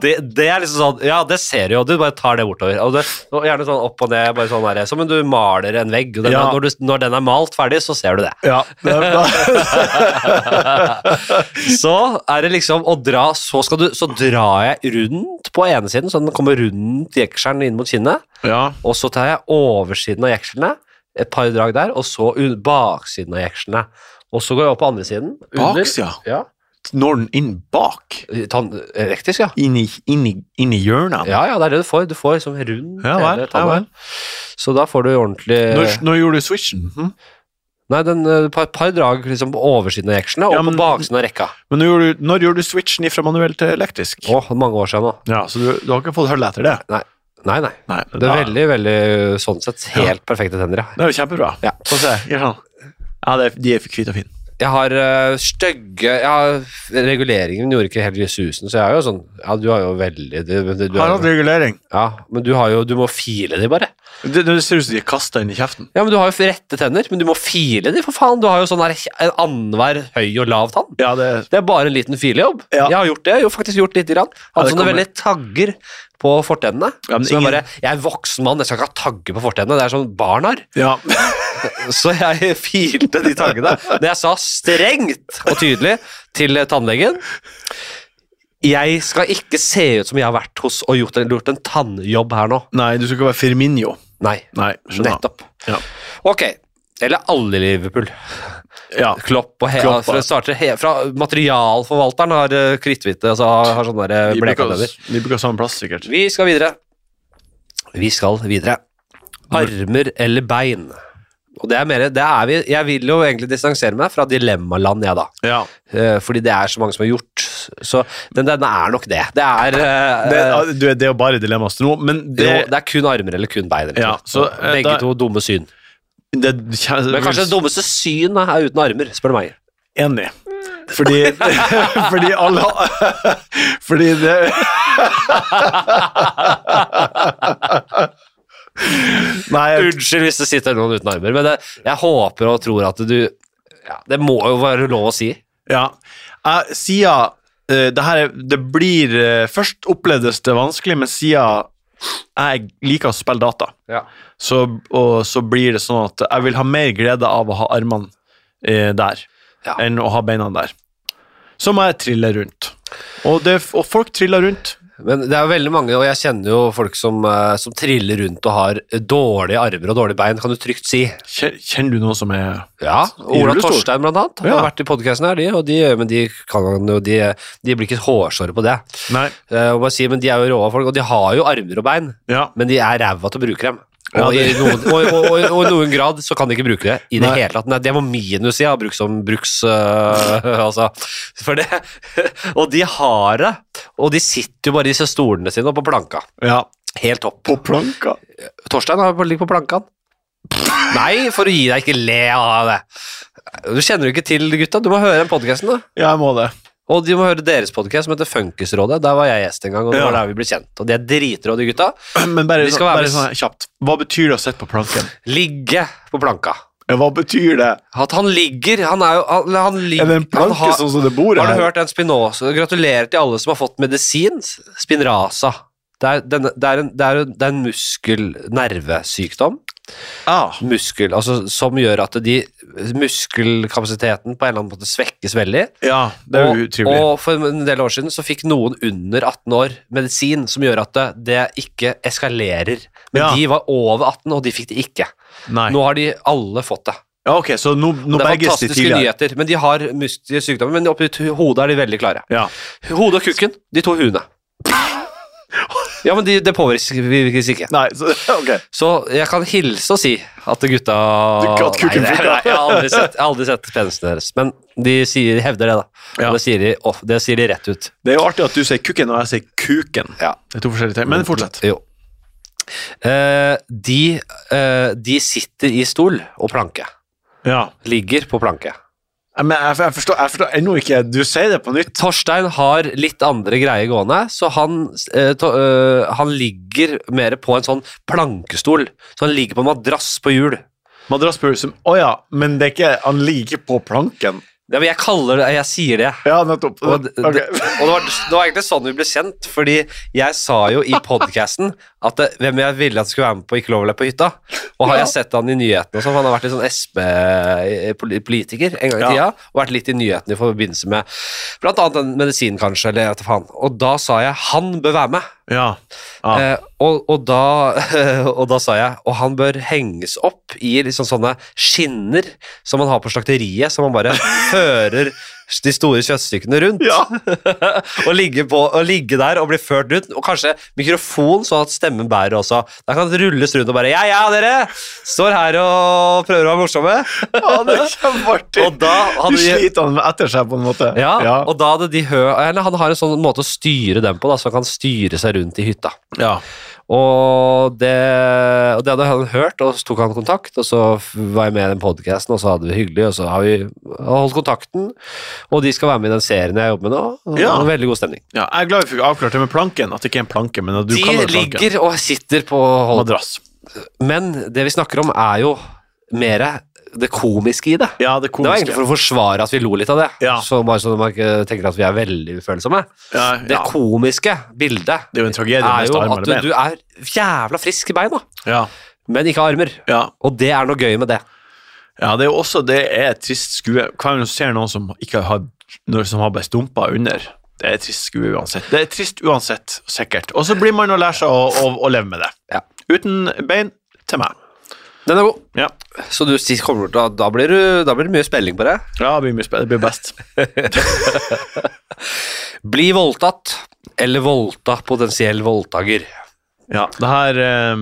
det, det er liksom sånn Ja, det ser du jo, du bare tar det bortover. Og det, og gjerne sånn opp og ned, bare sånn der, som om du maler en vegg. Og den,
Ja.
er- når, du, når den er malt ferdig, så ser du det.
Ja. det- da-
Så er det liksom å dra Så, skal du, så drar jeg rundt på ene siden, så den kommer rundt jekselen inn mot kinnet.
ja.
Og så tar jeg oversiden av jekslene, et par drag der, og så un- baksiden av jekslene. Og så går jeg opp på andre siden. under.
Baksida?
Ja.
når den inn bak.
Tann, elektrisk, ja.
Inn i, inn i, inn i hjørnene.
Ja, ja, det er det du får. Du får liksom rund
Ja vel,
hele
ja
tanna.
vel.
Så da får du ordentlig
Når, når gjorde du switchen? Hm?
Nei, den eh, par, par drag liksom på oversiden av jeksjene og
Ja, men-
på baksiden av rekka.
Men når gjorde, du, når gjorde du switchen fra manuell til elektrisk?
Å, mange år siden nå.
Ja, Så du, du har ikke fått hull etter det?
Nei, nei.
Nei, men
Det er
da-
veldig, veldig sånn sett helt perfekte tenner, ja.
det er jo kjempebra.
Ja.
Få se. Gjør sånn. Ja, det, er- de er hvite og fine.
Jeg har uh, stygge jeg har, Reguleringen gjorde ikke helt susen, så jeg er jo sånn Ja, du har jo veldig du, du, du,
Har hatt regulering.
Ja, men du har jo Du må file de, bare.
Det, det ser ut som de er kasta inn i kjeften.
Ja, men Du har jo rette tenner, men du må file de, for faen. Du har jo sånn her en annenhver høy og lav tann.
Ja, det,
Det er bare en liten filejobb.
Ja.
Jeg har gjort det. Jeg har jo faktisk gjort lite grann.
Ja,
Hadde
det
sånne
kommer.
veldig tagger på fortennene.
Ja, men
så jeg
ingen-
bare Jeg er voksen mann, jeg skal ikke ha tagger på fortennene. Det er sånn barn har.
ja.
Så jeg filte de taggene. Men jeg sa strengt og tydelig til tannlegen Jeg skal ikke se ut som jeg har vært hos og gjort en, gjort en tannjobb her nå.
Nei, du skal ikke være Firminio.
Nei,
Nei, skjønner.
nettopp.
Ja.
Ok. Eller alle i Liverpool.
Ja.
Klopp og he
Klopp, ja.
fra, starter he fra Materialforvalteren har eh, kritthvite, altså har sånne der, eh,
Vi
bleka
bruker,
tenner.
vi bruker samme plass, sikkert.
Vi skal videre. Vi skal videre. Armer eller bein? Og det er mer, det er vi, jeg vil jo egentlig distansere meg fra dilemmaland, jeg da.
Ja.
Eh, Fordi det er så mange som har gjort. Så den, den er nok det. Det er, eh,
Det, ja, du, det er jo bare dilemmas til nå, men altså, det,
jo, det er kun armer eller kun bein. eller
Ja,
noe.
så, eh,
Begge
da-
to dumme syn.
det,
Men kanskje det dummeste syn da, er uten armer, spør du meg.
Enig. Fordi, fordi alle Fordi det Nei, jeg-
Unnskyld hvis det sitter noen uten armer, men det, jeg håper og tror at du ja, Det må jo være lov å si.
ja. Jeg sier eh, det, her, er- det blir eh, Først opplevdes det vanskelig, men siden jeg liker å spille data,
Ja.
så, og så blir det sånn at jeg vil ha mer glede av å ha armene eh, der
Ja.
enn å ha beina der. Så må jeg trille rundt. Og, det, og folk triller rundt.
Men det er jo veldig mange, og jeg kjenner jo folk som, eh, som triller rundt og har dårlige armer og dårlige bein, kan du trygt si.
Kje- Kjenner du noen som er
Ja, Ola
rullestol.
Torstein blant annet, har
Ja.
vært i podcasten her, de, og de, men de, kan, jo- de, de blir ikke hårsåre på det.
Nei.
Eh, Og man sier, men de er jo råa folk, og de har jo armer og bein,
Ja.
men de er ræva til å bruke dem. Og,
Ja,
i noen, og, og, og, og i noen grad så kan de ikke bruke det i det
Nei.
hele tatt. Nei, det var minus jeg har brukt som bruks... øh, altså, for det. Og de har det, og de sitter jo bare i disse stolene sine og på planka.
ja.
Helt topp.
På planka?
Torstein har ligger på planka. han. Nei, for å gi deg ikke le av det. Du kjenner jo ikke til gutta, du må høre den podcasten da.
Ja, jeg må det.
Og du må høre deres podcast som heter Funkisrådet. Der var jeg gjest en gang, og det var
Ja.
der vi ble kjent. Og de er dritråd, de gutta.
Men bare,
Vi skal
sånn-
være-
bare sånn kjapt. Hva betyr det å sitte på planken?
Ligge på planka.
Ja, Hva betyr det?
At han ligger, han er jo Han, han ligger
Er det en planke
han har-
sånn som det bor
Har du
her?
hørt den Spinoza? Gratulerer til alle som har fått medisin. Spinraza. Det er, denne- det er en, det er en, det er en muskel-nervesykdom.
Ah,
Muskel, altså, som gjør at de, muskelkapasiteten på en eller annen måte svekkes veldig.
ja, det er
Og-
jo utrivelig.
Og for en del år siden så fikk noen under 18 år medisin som gjør at det, det ikke eskalerer. Men
Ja.
de var over 18, og de fikk det ikke.
Nei.
Nå har de alle fått det.
Ja, ok, så nå, nå
det er
berges de
fantastiske
tidligere.
nyheter. Men de har muskler- sykdommer, men oppi t- hodet er de veldig klare.
Ja.
Hodet og kukken, de to huene. Ja, men de, det påvirkes ikke.
Nei, så, ok.
Så jeg kan hilse og si at gutta
at kukken
Nei,
funker.
nei, jeg har aldri sett, jeg har aldri sett penisen deres. Men de sier, de hevder det, da.
Ja.
Og det sier, de, off- det sier de rett ut.
Det er jo artig at du sier kukken, og jeg sier kuken. Det er to forskjellige ting. Men
Mm.
fortsett.
Jo. Eh, de, eh, de sitter i stol og planke.
Ja.
Ligger på planke.
Ja, Men jeg, jeg forstår, jeg forstår ennå ikke Du sier det på nytt.
Torstein har litt andre greier gående, så han, eh, to, eh, han ligger mer på en sånn plankestol. Så han ligger på en madrass på hjul.
Madrassbur som Å ja, men det er ikke Han ligger ikke på planken.
Ja, men jeg kaller det, jeg sier det.
Ja, nettopp.
Og, d- d- og
Ok.
det, var, det var egentlig sånn vi ble kjent, fordi jeg sa jo i podcasten at det, hvem jeg ville at skulle være med på Ikke lov å le på hytta. Og har jeg sett han i nyhetene og sånn, for han har vært litt sånn SP-politiker en gang i
Ja.
tida, og vært litt i nyhetene i forbindelse med blant annet den medisin kanskje, eller jeg vet ikke faen. Og da sa jeg han bør være med.
Ja. Ja.
Eh, og, og, da, og da sa jeg Og han bør henges opp i liksom sånne skinner som man har på slakteriet, som man bare fører de store kjøttstykkene rundt.
Ja.
og, ligge på, og ligge der og bli ført rundt. Og kanskje mikrofon, sånn at stemmen bærer også. Da kan det rulles rundt og bare Ja, ja, dere! Står her og prøver å være morsomme.
Ja, det er kjempeartig.
Og da hadde
du
de-
sliter han etter seg, på en måte.
Ja,
ja.
og da hadde de hø... Eller han har en sånn måte å styre dem på, da, så han kan styre seg rundt i hytta.
ja.
Og det, og det hadde han hørt, og så tok han kontakt, og så f- var jeg med i den podcasten, og så hadde vi det hyggelig, og så har vi holdt kontakten, og de skal være med i den serien jeg jobber med nå, og
Ja.
veldig god stemning.
Ja, jeg er glad vi fikk avklart det med planken. At det ikke er en planke, men at du
de
kaller det planken.
ligger og sitter på hold.
Madrass.
Men det vi snakker om er jo mer det komiske i det.
Ja, det
Det var
komiske.
egentlig for å forsvare at vi lo litt av det,
Ja.
så bare sånn at man ikke tenker at vi er veldig ufølsomme.
ja,
Det
ja.
komiske bildet
det er jo en tragedie med
er jo
mest
at
armer eller
du,
ben.
du er jævla frisk i beina,
Ja,
men ikke armer.
ja.
Og det er noe gøy med det.
ja, det er jo også det er et trist skue. Hver gang du ser noen som ikke har noen som har blitt dumpa under, det er et trist skue uansett. Det er trist uansett, sikkert. Og så blir man å lære seg å, å, å leve med det.
Ja.
Uten bein til meg.
Den er god.
Ja,
Så du si- kommer til å da blir, du, da blir det mye spilling på det.
ja det blir mye spennende. Det blir best.
Bli voldtatt eller voldta potensiell voldtaker.
Ja, det her eh,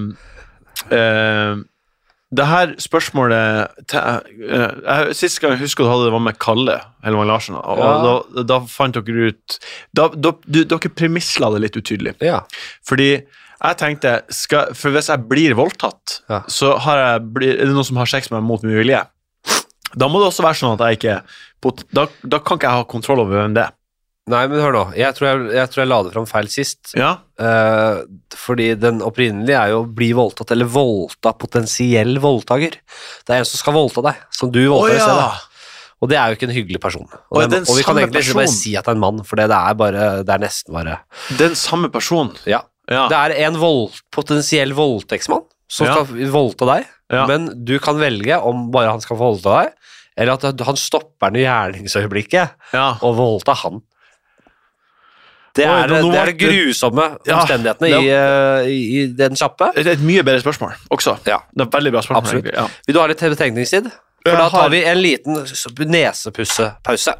eh, Det her spørsmålet te, eh, jeg, Sist gang jeg husker du hadde det var med Kalle Helvang Larsen, og
Ja.
da, da fant dere ut da, da, du, Dere premissla det litt utydelig.
Ja.
Fordi jeg tenkte skal, For hvis jeg blir voldtatt,
Ja.
så har jeg, blir, er det noen som har sex med meg mot min vilje. Da må det også være sånn at jeg ikke pot- Da, da kan ikke jeg ha kontroll over hvem det er.
Nei, men hør nå. Jeg tror jeg, jeg, tror jeg la det fram feil sist.
Ja,
Eh, fordi den opprinnelige er jo å bli voldtatt eller voldta potensiell voldtaker. Det er en som skal voldta deg, som du voldtar i stedet. Og det er jo ikke en hyggelig person. Og,
Å,
den,
det er en
og vi kan
samme
egentlig ikke bare
person.
si at det er en mann, for det, det er bare Det er nesten bare
Den samme personen.
Ja.
Ja.
Det er en vold, potensiell voldtektsmann som
Ja.
skal voldta deg,
Ja.
men du kan velge om bare han skal få voldta deg, eller at han stopper den i gjerningsøyeblikket
Ja.
og voldta han. Det
Oi,
er,
nå- nå
det er
ble
det
det-
grusomme
Ja,
omstendighetene
det-
i, eh, i, i den kjappe.
Det er et mye bedre spørsmål også.
Ja.
Det er et veldig bra spørsmål.
Absolutt.
egentlig, Ja.
Vil du ha litt betenkningstid? For
Jeg
da
har-
tar vi en liten s- nesepussepause.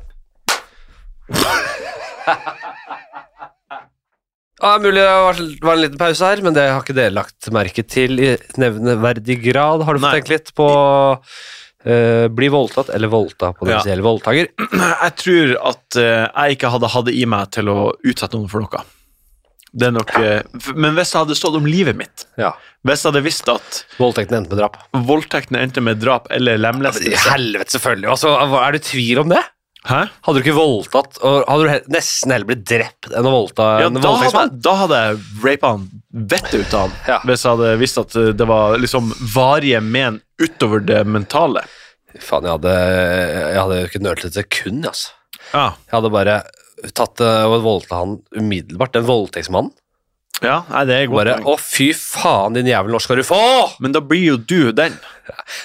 Ja, det er mulig det var- var en liten pause her, men det har ikke dere lagt merke til i nevneverdig grad. Har du fått
Nei.
tenkt litt på eh, bli voldtatt eller voldta potensiell voldtaker?
Jeg tror at eh, jeg ikke hadde hatt det i meg til å utsette noen for noe. Det er nok, eh, f- men hvis det hadde stått om livet mitt,
Ja.
hvis jeg hadde visst at
Voldtekten endte med drap.
voldtektene endte med drap eller
I
lemlestelse
helvete, selvfølgelig. Altså, hva- er du i tvil om det?
Hæ?
Hadde du ikke voldtatt, og hadde du he- nesten heller blitt drept enn å voldta
Ja,
en
da hadde, jeg-
voldtektsmann?
da hadde jeg rapa han vettet ut av han
Ja.
hvis jeg hadde visst at eh, det var liksom varige men utover det mentale.
Faen, jeg hadde, jeg hadde jo ikke nølt et sekund, altså.
Ja,
Jeg hadde bare tatt eh, og voldta han umiddelbart, den voldtektsmannen.
ja nei, det er godt.
Bare, å
poeng.
fy faen, din jævel, når skal du få?
Men da blir jo du den.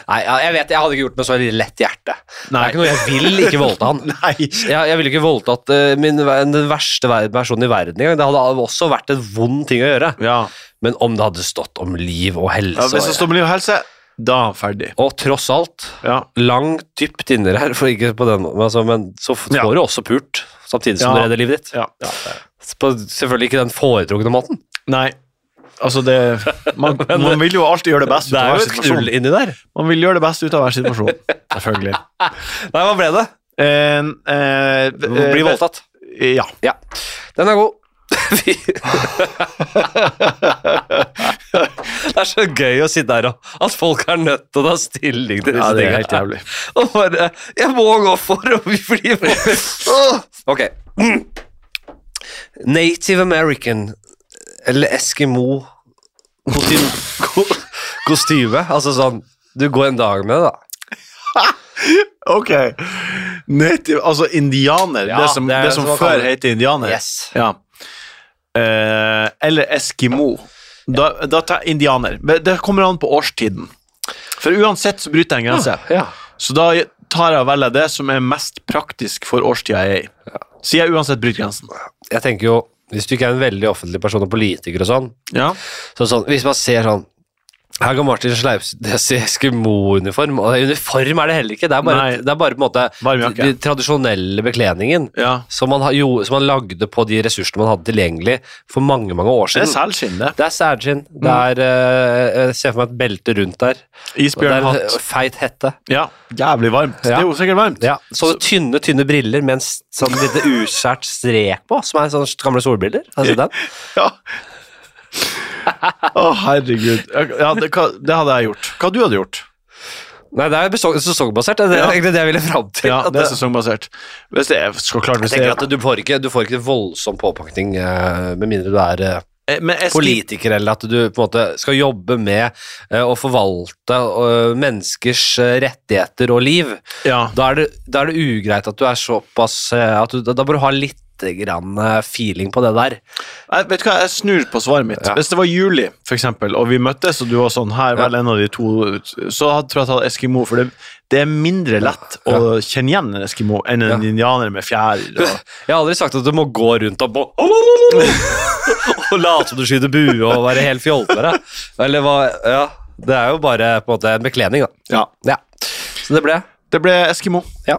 Nei, jeg, jeg vet, jeg hadde ikke gjort det med så lett hjerte. Det
Nei.
er ikke noe, jeg vil ikke voldta han.
Nei.
Jeg, jeg ville ikke voldtatt eh, min, den verste ver- personen i verden engang. Det hadde også vært en vond ting å gjøre.
Ja.
Men om det hadde stått om liv og helse
Ja, hvis det
og-
står med liv og helse, da er han ferdig.
Og tross alt,
Ja.
langt dypt inni her, for ikke på den, men altså, men så f-
Ja.
får du også pult samtidig som
Ja.
du redder livet ditt.
Ja.
På selvfølgelig ikke den foretrukne måten.
Nei, altså det man, man vil jo alltid gjøre det best ut
Det
av
er
hver
jo et knull
situasjon.
inni der.
Man vil gjøre det best ut av hver situasjon, selvfølgelig.
Nei, hva ble det?
Eh, eh, eh,
Bli voldtatt.
Ja.
Ja. Den er god. Fy. det er så gøy å sitte her og at folk er nødt til å ta stilling til disse
ja, det er
tingene.
helt jævlig.
Og bare Jeg må gå for å bli voldtatt. Ok. Native American eller Eskimo kostyme, ko, kostyme. Altså sånn Du går en dag med det, da.
Ok. Native, altså indianer,
Ja,
det som,
det
det
er
som
som man
før
kaller-
het indianer.
Yes.
Ja. Eh, eller eskimo. Da, da tar jeg indianer. Men Det kommer an på årstiden. For uansett så bryter jeg en grense.
Ja.
Så da tar jeg og velger det som er mest praktisk for årstida jeg er i. Sier jeg uansett bryter grensen.
jeg tenker jo, hvis du ikke er en veldig offentlig person og politiker og sånn,
Ja.
så er det sånn, hvis man ser sånn Her går Martin Sleipnes i Eskimo-uniform, og uniform er det heller ikke. Det er bare,
Nei.
det er bare på en måte
Varm jakke.
den tradisjonelle bekledningen
Ja.
som man, ha- jo, som man lagde på de ressursene man hadde tilgjengelig for mange, mange år
Det er Mm.
siden.
selskinn, det.
Det er særskinn. Det er eh, Jeg ser for meg et belte rundt der. Og det er
Isbjørnhatt.
en feit hette.
Ja, jævlig varmt.
Ja.
Det er jo sikkert varmt.
Ja, Sånne tynne tynne briller med en s- sånn lite uskjært strek på, som er sånne gamle solbriller. Har du sett den?
Ja. Å, herregud. Ja, det, hva, det hadde jeg gjort. Hva du hadde gjort?
Nei, det er besong- sesongbasert. Det er
Ja.
egentlig det jeg ville fram til.
Ja,
at
det er
det-
sesongbasert. Hvis det er, skal klart, hvis
jeg tenker
det er,
at du får ikke, du får ikke voldsom påpakning eh, med mindre du er eh,
Eh, men jeg skal-
politiker, eller at du på en måte skal jobbe med eh, å forvalte eh, menneskers eh, rettigheter og liv.
Ja.
Da er, det, da er det ugreit at du er såpass eh, at du, da- Da må du ha litt grann eh, feeling på det der.
Jeg, vet du hva, jeg snur på svaret mitt.
Ja.
Hvis det var juli, for eksempel, og vi møttes, og du var sånn her, vel, en av de to, så hadde, tror jeg jeg tatt Eskimo, for det, det er mindre lett å kjenne igjen en Eskimo enn
Ja.
en indianer med fjær. Og,
Jeg har aldri sagt at du må gå rundt og bo- Og late som du skyter bue og være helt fjoltere. Eller hva Ja. Det er jo bare på en måte en bekledning, da.
ja.
Ja. Så det ble
Det ble Eskimo.
Ja.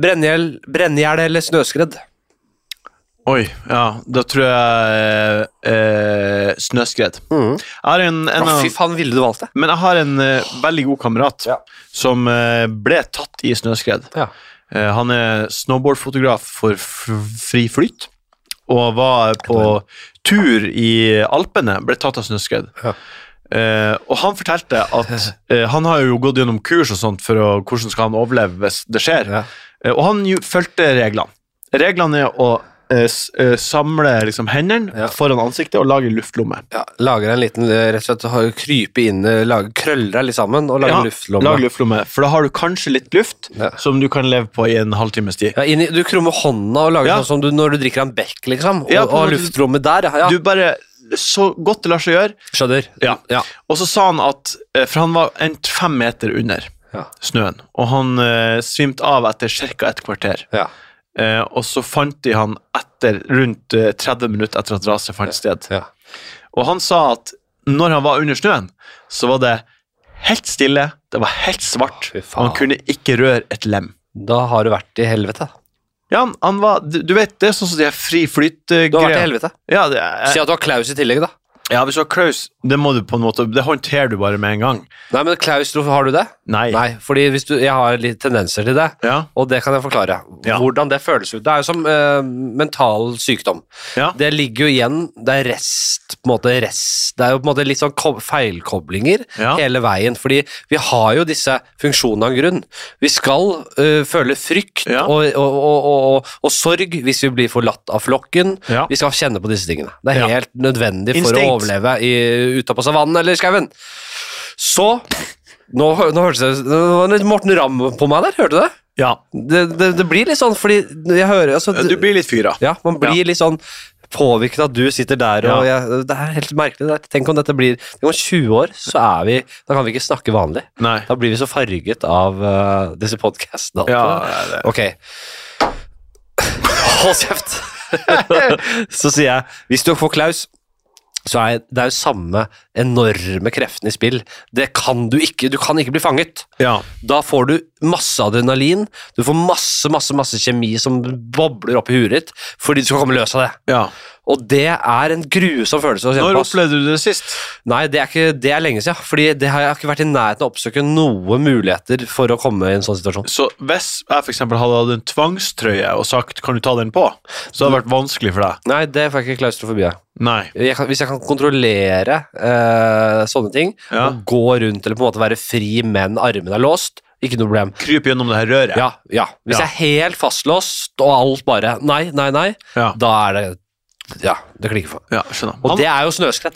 Brennjel- Brennjel eller snøskredd?
Oi, ja, da tror jeg eh, snøskred.
Mm.
Jeg har en, en
Å,
av,
fy faen, ville du valgt det?
men jeg har en eh, veldig god kamerat
Ja.
som eh, ble tatt i snøskred.
Ja.
Eh, han er snowboardfotograf for F- Fri Flyt, og var på tur i Alpene, ble tatt av snøskred.
Ja.
Eh, og han fortalte at eh, han har jo gått gjennom kurs og sånt for å, hvordan skal han overleve hvis det skjer.
Ja.
Eh, og han jo- fulgte reglene. Reglene er å eh, s- eh, samle liksom, hendene
Ja.
foran ansiktet og lage luftlomme.
ja. Lager en liten eh, Rett og slett har- krype inn eh, lage, Krøller deg litt sammen og lager
Ja,
luftlomme.
Lag luftlomme, for da har du kanskje litt luft
Ja.
som du kan leve på i en halvtimes tid.
ja, inn i, du krummer hånda og lager
Ja.
sånn som du, når du drikker en bekk, liksom. Og,
Ja, på en
og
måte-
luftrommet der. Ja.
Du bare Så godt det lar seg gjøre.
Skjønner.
Ja.
ja.
Og så sa han at eh, For han var en fem meter under
Ja.
snøen, og han eh, svimte av etter ca. et kvarter.
ja.
Eh, og så fant de han etter rundt eh, 30 minutter etter at raset fant sted.
ja.
Og han sa at når han var under snøen, så var det helt stille, det var helt svart,
Fy
og
faen.
han kunne ikke røre et lem.
Da har du vært i helvete.
Ja, han, han var, du du vet, det er sånn som de her fri eh,
Du har vært i
flyt-greia.
helvete.
Ja, det er-
Si at du har Klaus i tillegg, da.
ja, hvis du har Klaus, det må du på en måte, det håndterer du bare med en gang.
Nei, men klaustrof, har du det?
Nei.
Nei, fordi hvis du, jeg har litt tendenser til det.
Ja.
Og det kan jeg forklare.
Ja.
Hvordan det føles ut. Det er jo som eh, mental sykdom.
Ja.
Det ligger jo igjen Det er rest, på en måte rest Det er jo på en måte litt sånn ko- feilkoblinger
Ja.
hele veien. Fordi vi har jo disse funksjonene av en grunn. Vi skal eh, føle frykt
Ja.
og, og, og, og, og, og sorg hvis vi blir forlatt av flokken.
Ja.
Vi skal kjenne på disse tingene. Det er
Ja.
helt nødvendig for å
Instinkt.
overleve i- ute på savannen eller i skauen. Så nå, hø- nå hørtes det Det var litt Morten Ramm på meg der, hørte du det?
Ja,
Det, det, det blir litt sånn, fordi jeg hører altså,
du blir litt fyra.
Ja, man blir litt sånn påvirket av at du sitter der og
Ja.
jeg, Det er helt merkelig. Det er, tenk om dette blir Tenk om 20 år, så er vi Da kan vi ikke snakke vanlig.
Nei.
Da blir vi så farget av eh, disse podkastene.
Ja, det-
Ok. Hold kjeft! så sier jeg, hvis du får Klaus, så er det er jo samme enorme kreftene i spill. Det kan du ikke. Du kan ikke bli fanget.
Ja.
Da får du masse adrenalin, du får masse, masse, masse kjemi som bobler opp i huet ditt fordi du skal komme løs av det.
ja.
Og det er en grusom følelse å kjenne
Når
på. ass.
opplevde du det sist?
Nei, det er, ikke, det er lenge siden, fordi det har jeg ikke vært i nærheten av å oppsøke noen muligheter for å komme i en sånn situasjon.
Så hvis jeg for eksempel hadde hatt en tvangstrøye og sagt 'kan du ta den på', så hadde det vært vanskelig for deg.
Nei, det får jeg ikke klaustrofobi av.
Nei.
jeg kan, hvis jeg kan kontrollere eh, sånne ting,
Ja.
og gå rundt eller på en måte være fri, men armene er låst, ikke noe problem.
Kryp gjennom det her røret.
Ja, ja. Hvis jeg
Ja.
er helt fastlåst, og alt bare nei, nei, nei,
Ja.
da er det Ja, det klikker for.
Ja, skjønner.
Og
Han,
det er jo snøskred.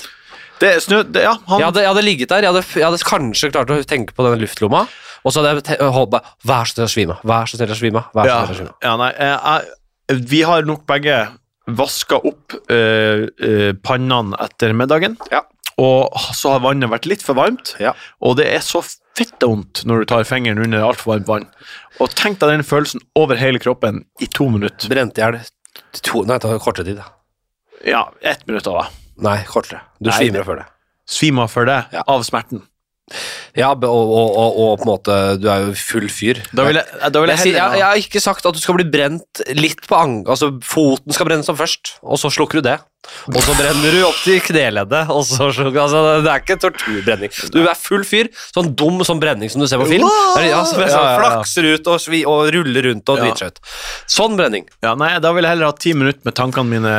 det er snø... Det, ja, han
Jeg hadde, jeg hadde ligget der, jeg hadde, jeg hadde kanskje klart å tenke på denne luftlomma, og så hadde jeg te- holdt meg Vær så snill å svime av, vær så snill å svime av, vær så
ja,
snill å svime av.
ja, nei, jeg, jeg, Vi har nok begge vaska opp eh, eh, pannene etter middagen,
Ja.
og så har vannet vært litt for varmt,
Ja.
og det er så fitte vondt når du tar fingeren under altfor varmt vann. Og tenk deg den følelsen over hele kroppen i to minutter.
Brente i hjel to Nei, det tar kortere tid. da.
Ja, ett minutt av det.
Nei, kortere. Du
Nei,
svimer av før det.
svima for det av smerten.
Ja, og, og, og, og på en måte Du er jo full fyr.
Da vil jeg, da vil
Jeg,
jeg
sier,
heller
jeg, jeg har ikke sagt at du skal bli brent litt på ang... Altså, foten skal brennes som først, og så slukker du det. Og så brenner du opp til kneleddet, og så slukker altså, Det er ikke torturbrenning. Du er full fyr. Sånn dum sånn brenning som du ser på film. Der, ja, som jeg sa,
Ja, ja, ja.
Flakser ut og, svi, og ruller rundt og
Ja.
driter seg ut. Sånn brenning.
Ja, nei, da vil jeg heller ha ti minutter med tankene mine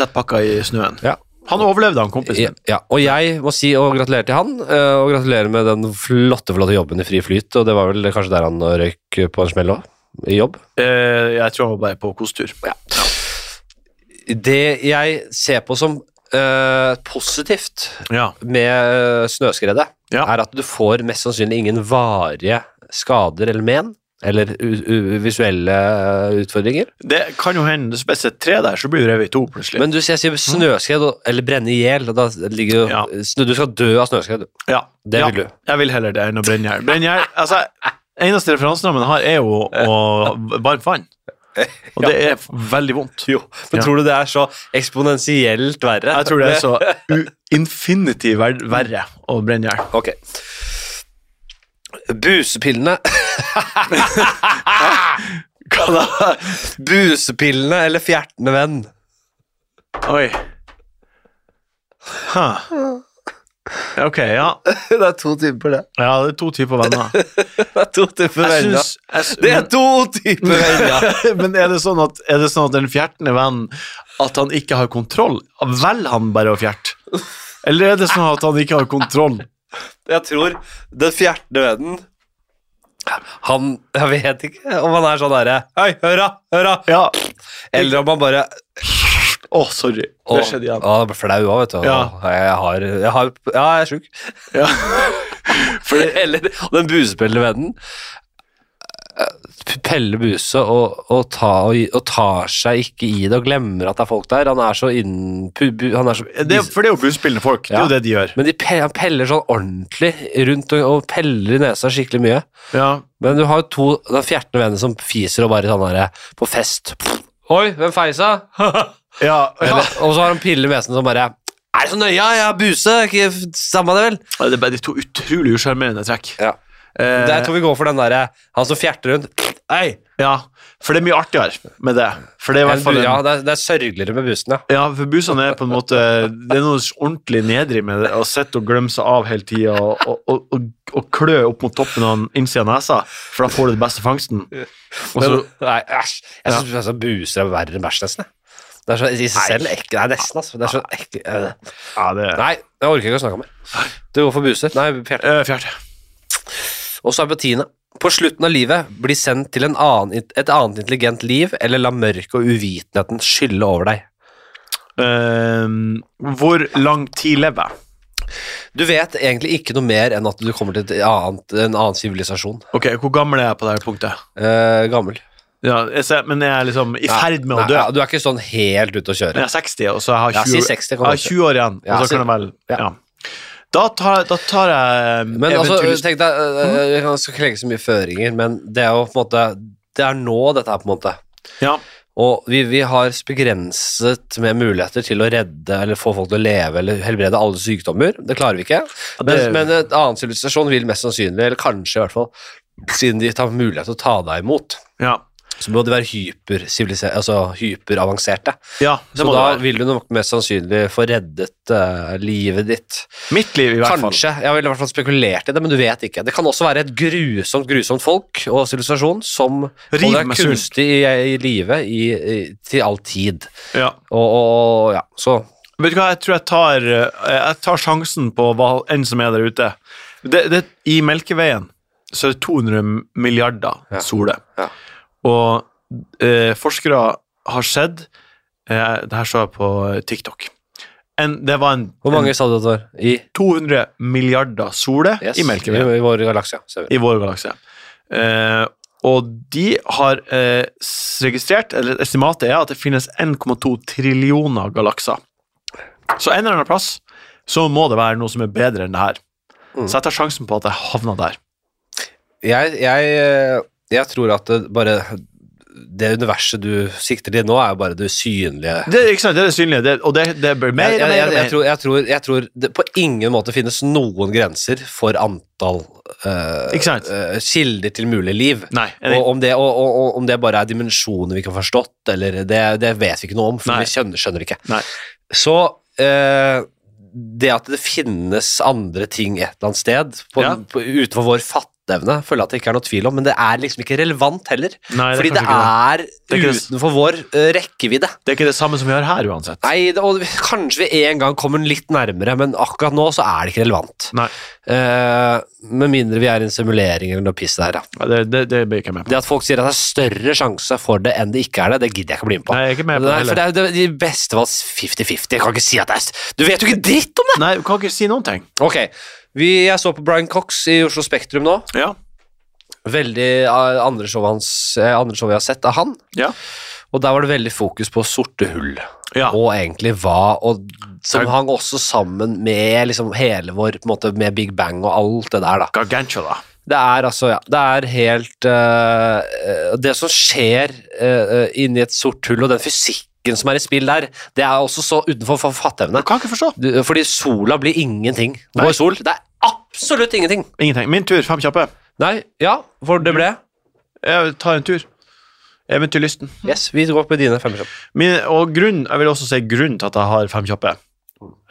tett pakka i snøen.
Ja.
Han overlevde, han kompisen.
Ja, ja, og jeg må si og gratulerer til han, eh, og gratulerer med den flotte, flotte jobben i Fri Flyt, og det var vel kanskje der han røyk på en smell òg, i jobb.
Eh, jeg tror han var bare på kosetur.
Det jeg ser på som eh, positivt
Ja.
med eh, snøskredet,
Ja.
er at du får mest sannsynlig ingen varige skader eller men, eller u u visuelle eh, utfordringer.
Det kan jo hende, hvis det er et tre der, så blir det revet i to plutselig.
Men du sier, sier snøskred og- eller brenne i hjel, og da ligger jo
Mm. Ja.
snø- Du skal dø av snøskred. du.
ja,
Det
ja,
vil du.
Jeg vil heller det enn å brenne hjel. Brenne hjel, altså, eneste referansenammen har er jo å varmt vann. Og det er veldig vondt.
Men
Ja.
tror du det er så eksponentielt verre?
Jeg tror det er så u- infinity ver verre å brenne hjel.
Ok. Busepillene Hva da? Busepillene eller fjertende venn?
Oi. Huh. Ok, ja.
Det er to typer, det.
Ja, det er to typer venner.
Det er to typer
Jeg
venner.
syns- jeg syns-
Det er to typer venner!
Men er det sånn at, er det sånn at den fjertende vennen At han ikke har kontroll? Velger han bare å fjerte? Eller er det sånn at han ikke har kontroll?
Jeg tror den fjertende vennen Han Jeg vet ikke om han er sånn derre Hei, høra, høra!
Ja.
Eller om han bare
Å, sorry.
Å,
Det skjedde igjen.
å, jeg ble flau òg, vet du.
Ja.
Å, Jeg har, jeg har Ja, jeg er sjuk.
Ja.
Eller og den busepellende vennen eh, Pelle Buse og, og, ta, og, og tar seg ikke i det og glemmer at det er folk der. Han er så innen pu- bu- han er så,
Det, er- for det er jo busspillende folk. Det er jo det de gjør.
Men de, pe- han peller sånn ordentlig rundt og, og peller i nesa skikkelig mye.
Ja.
Men du har jo to den fjertende vennen som fiser og bare sånn derre på fest. Oi, hvem feisa?
Ja, ja.
Eller, og så har han piller i nesen som bare Er det så nøye? Jeg er buse. Ikke f- samme det, vel?
Det er bare de to utrolig usjarmerende trekk.
Ja.
Eh,
Jeg tror vi går for den derre han som fjerter rundt. Hei!
ja, for det er mye artigere med det. For det er i
Ja,
hvert fall en,
det, er, det er sørgeligere med bussen, ja.
Ja, for busene er på en måte Det er noe ordentlig nedrig med det, å sitte og glemme seg av hele tida og, og, og, og klø opp mot toppen av innsida av nesa, for da får du den beste fangsten. Og så,
nei, æsj. Jeg syns altså, buser er verre enn bæsj, nesten. jeg. Det er så i seg selv ekkelt. Nei, nesten, altså. Det er så ekkelt. eh.
ja, det er
Nei, jeg orker ikke å snakke mer. Du går for buser. Nei, fjerde.
Eh, Fjerde.
Og så er på tiende. På slutten av livet bli sendt til en annen, int- et annet intelligent liv, eller la mørket og uvitenheten skylle over deg.
Ehm, hvor lang tid lever jeg?
Du vet egentlig ikke noe mer enn at du kommer til et annet, en annen sivilisasjon.
Ok, Hvor gammel er jeg på dette punktet?
Eh, gammel.
Ja, jeg ser, men jeg er liksom i ferd med
Nei,
å dø.
ja, Du er ikke sånn helt ute å kjøre.
Jeg er 60, og så jeg
Ja,
har
si
20,
60
jeg
kan
har
du si.
20 år igjen.
Ja,
og så
si-
kan jeg vel
ja.
Ja. Da tar, da tar jeg
Men altså,
eventuelt- Mhm.
tenk deg, øh, jeg kan- skal ikke legge så mye føringer, men det er jo på en måte Det er nå dette er, på en måte.
ja.
Og vi, vi har begrenset med muligheter til å redde eller få folk til å leve eller helbrede alle sykdommer. Det klarer vi ikke.
det-
Men, men en annen sivilisasjon vil mest sannsynlig, eller kanskje i hvert fall, siden de tar mulighet til å ta deg imot,
ja.
så må de være hypersiviliserte, altså hyperavanserte.
Ja, det
Så
må det
da
være.
vil du nok mest sannsynlig få reddet eh, livet ditt.
Mitt liv, i hvert fall.
Kanskje. Jeg ville i hvert fall spekulert i det, men du vet ikke. Det kan også være et grusomt grusomt folk og sivilisasjon som
Riv
holder deg
meg sund.
kunstig i, i livet i, i, til all tid.
Ja.
Og, og ja, så
Vet du hva, jeg tror jeg tar, eh, jeg tar sjansen på hva enn som er der ute. Det, det, I Melkeveien så er det 200 milliarder
Ja.
soler.
Ja.
Og eh, forskere har sett eh, Det her så jeg på TikTok. En, det var en,
Hvor mange sa du det var? I,
en 200 milliarder soler
yes,
i Melkeveien
I, i vår galakse. ja. Ser vi.
i vår galakse. Eh, og de har eh, s- registrert, eller estimatet er at det finnes 1,2 trillioner galakser. Så en eller annen plass så må det være noe som er bedre enn det her.
Mm.
Så jeg tar sjansen på at jeg havner der.
Jeg, jeg, eh, jeg tror at det bare det universet du sikter til nå, er jo bare det usynlige.
Det, er ikke sant, det er det synlige, det, og det, det blir mer
Jeg, jeg,
og mer.
jeg,
og
jeg,
mer.
tror, jeg, tror, jeg tror det på ingen måte finnes noen grenser for antall eh,
Ikke sant?
eh, kilder til mulig liv.
Nei, enig.
Og om, det, og, og, og om det bare er dimensjoner vi ikke har forstått, eller det, det vet vi ikke noe om, for
Nei.
vi skjønner, skjønner ikke.
Nei.
Så eh, det at det finnes andre ting et eller annet sted, på,
Ja.
på, utenfor vår fatteevne, føler jeg at det ikke er noe tvil om, men det er liksom ikke relevant heller.
Nei, det er
fordi det
kanskje
er,
Det er ikke det.
utenfor vår eh, rekkevidde.
Det er ikke det samme som vi har her uansett.
Nei, det, og kanskje vi en gang kommer litt nærmere, men akkurat nå så er det ikke relevant.
Nei,
Eh, med mindre vi er i en simulering eller noe piss der, ja.
ja, det, det, det blir ikke jeg med på.
Det at folk sier at det er større sjanse for det enn det ikke er det, det gidder jeg ikke bli med på.
Nei, jeg er ikke med på det
Nei, for
heller.
det er jo det- de beste var 50-50. Jeg kan ikke si at det er s- Du vet jo ikke dritt om det!
Nei, du kan ikke si noen ting.
Ok, vi, jeg så på Brian Cox i Oslo Spektrum nå.
Ja.
Veldig eh, andre show, hans, eh, andre show jeg har sett av han.
Ja.
Og der var det veldig fokus på sorte hull.
Ja.
og egentlig hva og Som
Er-
hang også sammen med liksom hele vår på en måte, Med Big Bang og alt det der, da.
Gargantula.
Det er altså Ja, det er helt eh, eh, Det som skjer eh, eh, inni et sort hull, og den fysikken som er i spill der, det er også så utenfor for fatteevne.
Du kan ikke forstå.
Du- Fordi sola blir ingenting.
Nei.
Vår sol, det er absolutt ingenting.
Ingenting. Min tur, fem kjappe.
Nei, ja, for det ble
Jeg tar en tur. Eventyrlysten.
Yes, vi går på dine fem kjappe.
Min, og grunn, jeg vil også si grunnen til at jeg har fem kjappe.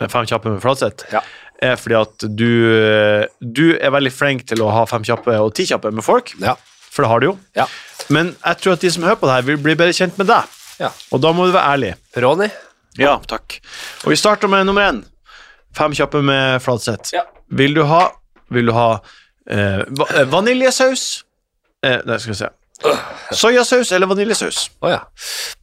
Fem kjappe med Flatseth.
Ja.
Er fordi at du, du er veldig flink til å ha fem kjappe og ti kjappe med folk.
Ja.
For det har du jo.
ja.
Men jeg tror at de som hører på det her, vil bli bedre kjent med deg.
Ja.
Og da må du være ærlig.
Ronny?
Ja, takk. Og vi starter med nummer én. Fem kjappe med Fladseth.
Ja.
Vil du ha, vil du ha eh, va- eh, vaniljesaus eh, Nei, skal vi se. Soyasaus eller vaniljesaus?
Å ja.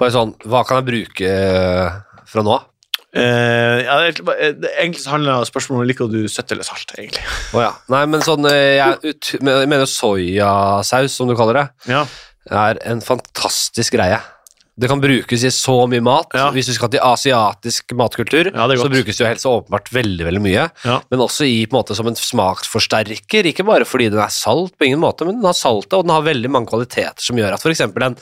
Bare sånn, hva kan jeg bruke eh, fra nå av?
Eh, ja, det, er egentlig bare- eh, det- egentlig så handler spørsmålet om liker du søtt eller salt. egentlig.
Å ja. Nei, men sånn eh, Jeg, ut, men jeg mener soyasaus, som du kaller det,
Ja.
er en fantastisk greie. Det kan brukes i så mye mat.
Ja.
Hvis du skal til asiatisk matkultur,
Ja, det er
så
godt.
brukes det jo helt så åpenbart veldig veldig mye.
Ja.
Men også i, på en måte, som en smaksforsterker, ikke bare fordi den er salt, på ingen måte, men den har saltet, og den har veldig mange kvaliteter som gjør at f.eks. en,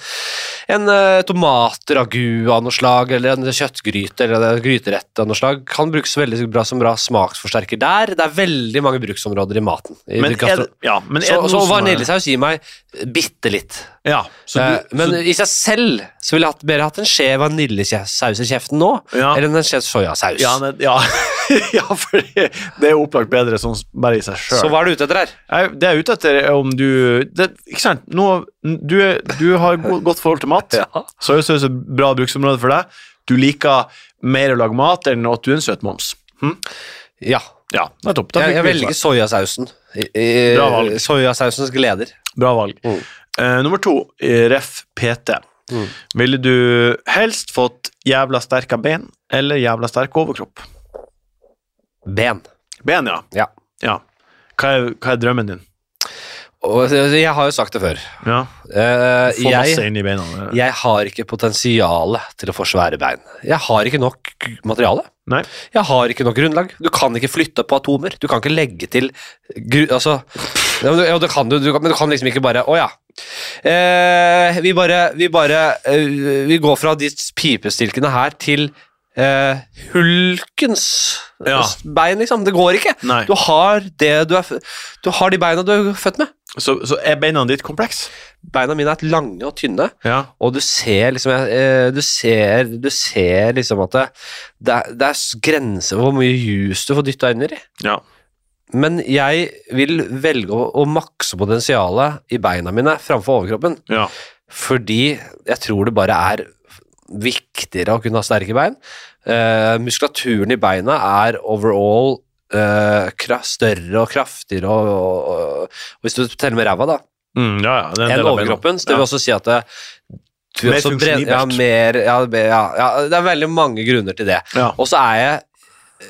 en eh, tomatragu av noe slag, eller en kjøttgryte eller en gryterett av noe slag, kan brukes veldig bra som bra smaksforsterker der. Det er veldig mange bruksområder i maten. I
Men er, det- ja, men er
så,
det
så
noe som er-
vaniljesaus gir meg bitte litt.
Ja, så
Eh,
du,
men
så,
i seg selv så ville jeg hatt, mer hatt en skje vaniljesaus i kjeften nå,
Ja.
eller en skje soyasaus.
ja, nei, ja. ja, for det er jo opplagt bedre sånn bare i seg sjøl.
så hva er du ute etter her?
Jeg, det jeg er ute etter, er om du det, Ikke sant? Nå, du, er, du har go godt forhold til mat.
Ja.
Soyasaus er et bra bruksområde for deg. Du liker mer å lage mat enn at du er en søt moms.
Ja,
Ja, nettopp. Da
jeg, jeg
fikk vi
velger
svar.
soyasausen. I-
Bra valg.
i- Soyasausens gleder.
Bra valg.
Mm.
Eh, nummer to, eh, ref. PT.
Mm.
Ville du helst fått jævla sterke ben eller jævla sterk overkropp?
Ben.
Ben, ja.
Ja.
ja. Hva, er, hva er drømmen din?
Og jeg har jo sagt det før.
Ja.
Eh,
Få masse
jeg,
inn i beina.
jeg har ikke potensial til å få svære bein. Jeg har ikke nok materiale.
Nei.
Jeg har ikke nok grunnlag. Du kan ikke flytte på atomer. Du kan ikke legge til gru... Altså ja, men, du- ja, det kan du, du, kan- men du kan liksom ikke bare Å ja. Eh, vi bare, vi, bare eh, vi går fra de pipestilkene her til eh, hulkens
Ja.
bein, liksom. Det går ikke.
Nei.
Du har det du er f- Du har de beina du er født med.
Så, så er beina ditt kompleks?
Beina mine er lange og tynne.
Ja.
Og du ser liksom jeg- eh, Du ser, du ser liksom at det, det, er, det er s- grenser for hvor mye juice du får dytta inn i.
ja.
Men jeg vil velge å, å makse potensialet i beina mine framfor overkroppen.
ja.
Fordi jeg tror det bare er viktigere å kunne ha sterke bein. Eh, muskulaturen i beina er overall eh, kra- større og kraftigere og, og, og Hvis du teller med ræva, da
Mm, ja, ja, det er en
enn
del av beina.
overkroppen. Så det
Ja.
vil også si at det, du
Mer
også bren-
funksjonelt.
ja, mer, ja, be- ja, ja, Det er veldig mange grunner til det.
Ja.
Og så er jeg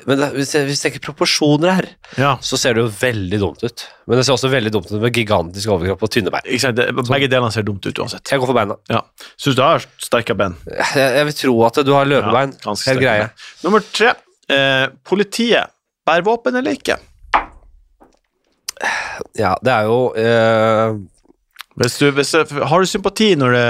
men det, hvis, jeg, hvis jeg tenker proporsjoner her,
ja.
så ser det jo veldig dumt ut. Men det ser også veldig dumt ut med gigantisk overkropp og tynne bein.
Ikke sant? Det, begge delene ser dumt ut uansett.
Jeg går for beina.
Ja. Syns du har sterke ben?
Jeg, jeg vil tro at du har løpebein.
Ja, ganske sterke
Helt greie.
ben. Nummer tre. Eh, politiet. Bærer våpen eller ikke?
Ja, det er jo eh,
Hvis du, hvis, har du sympati når det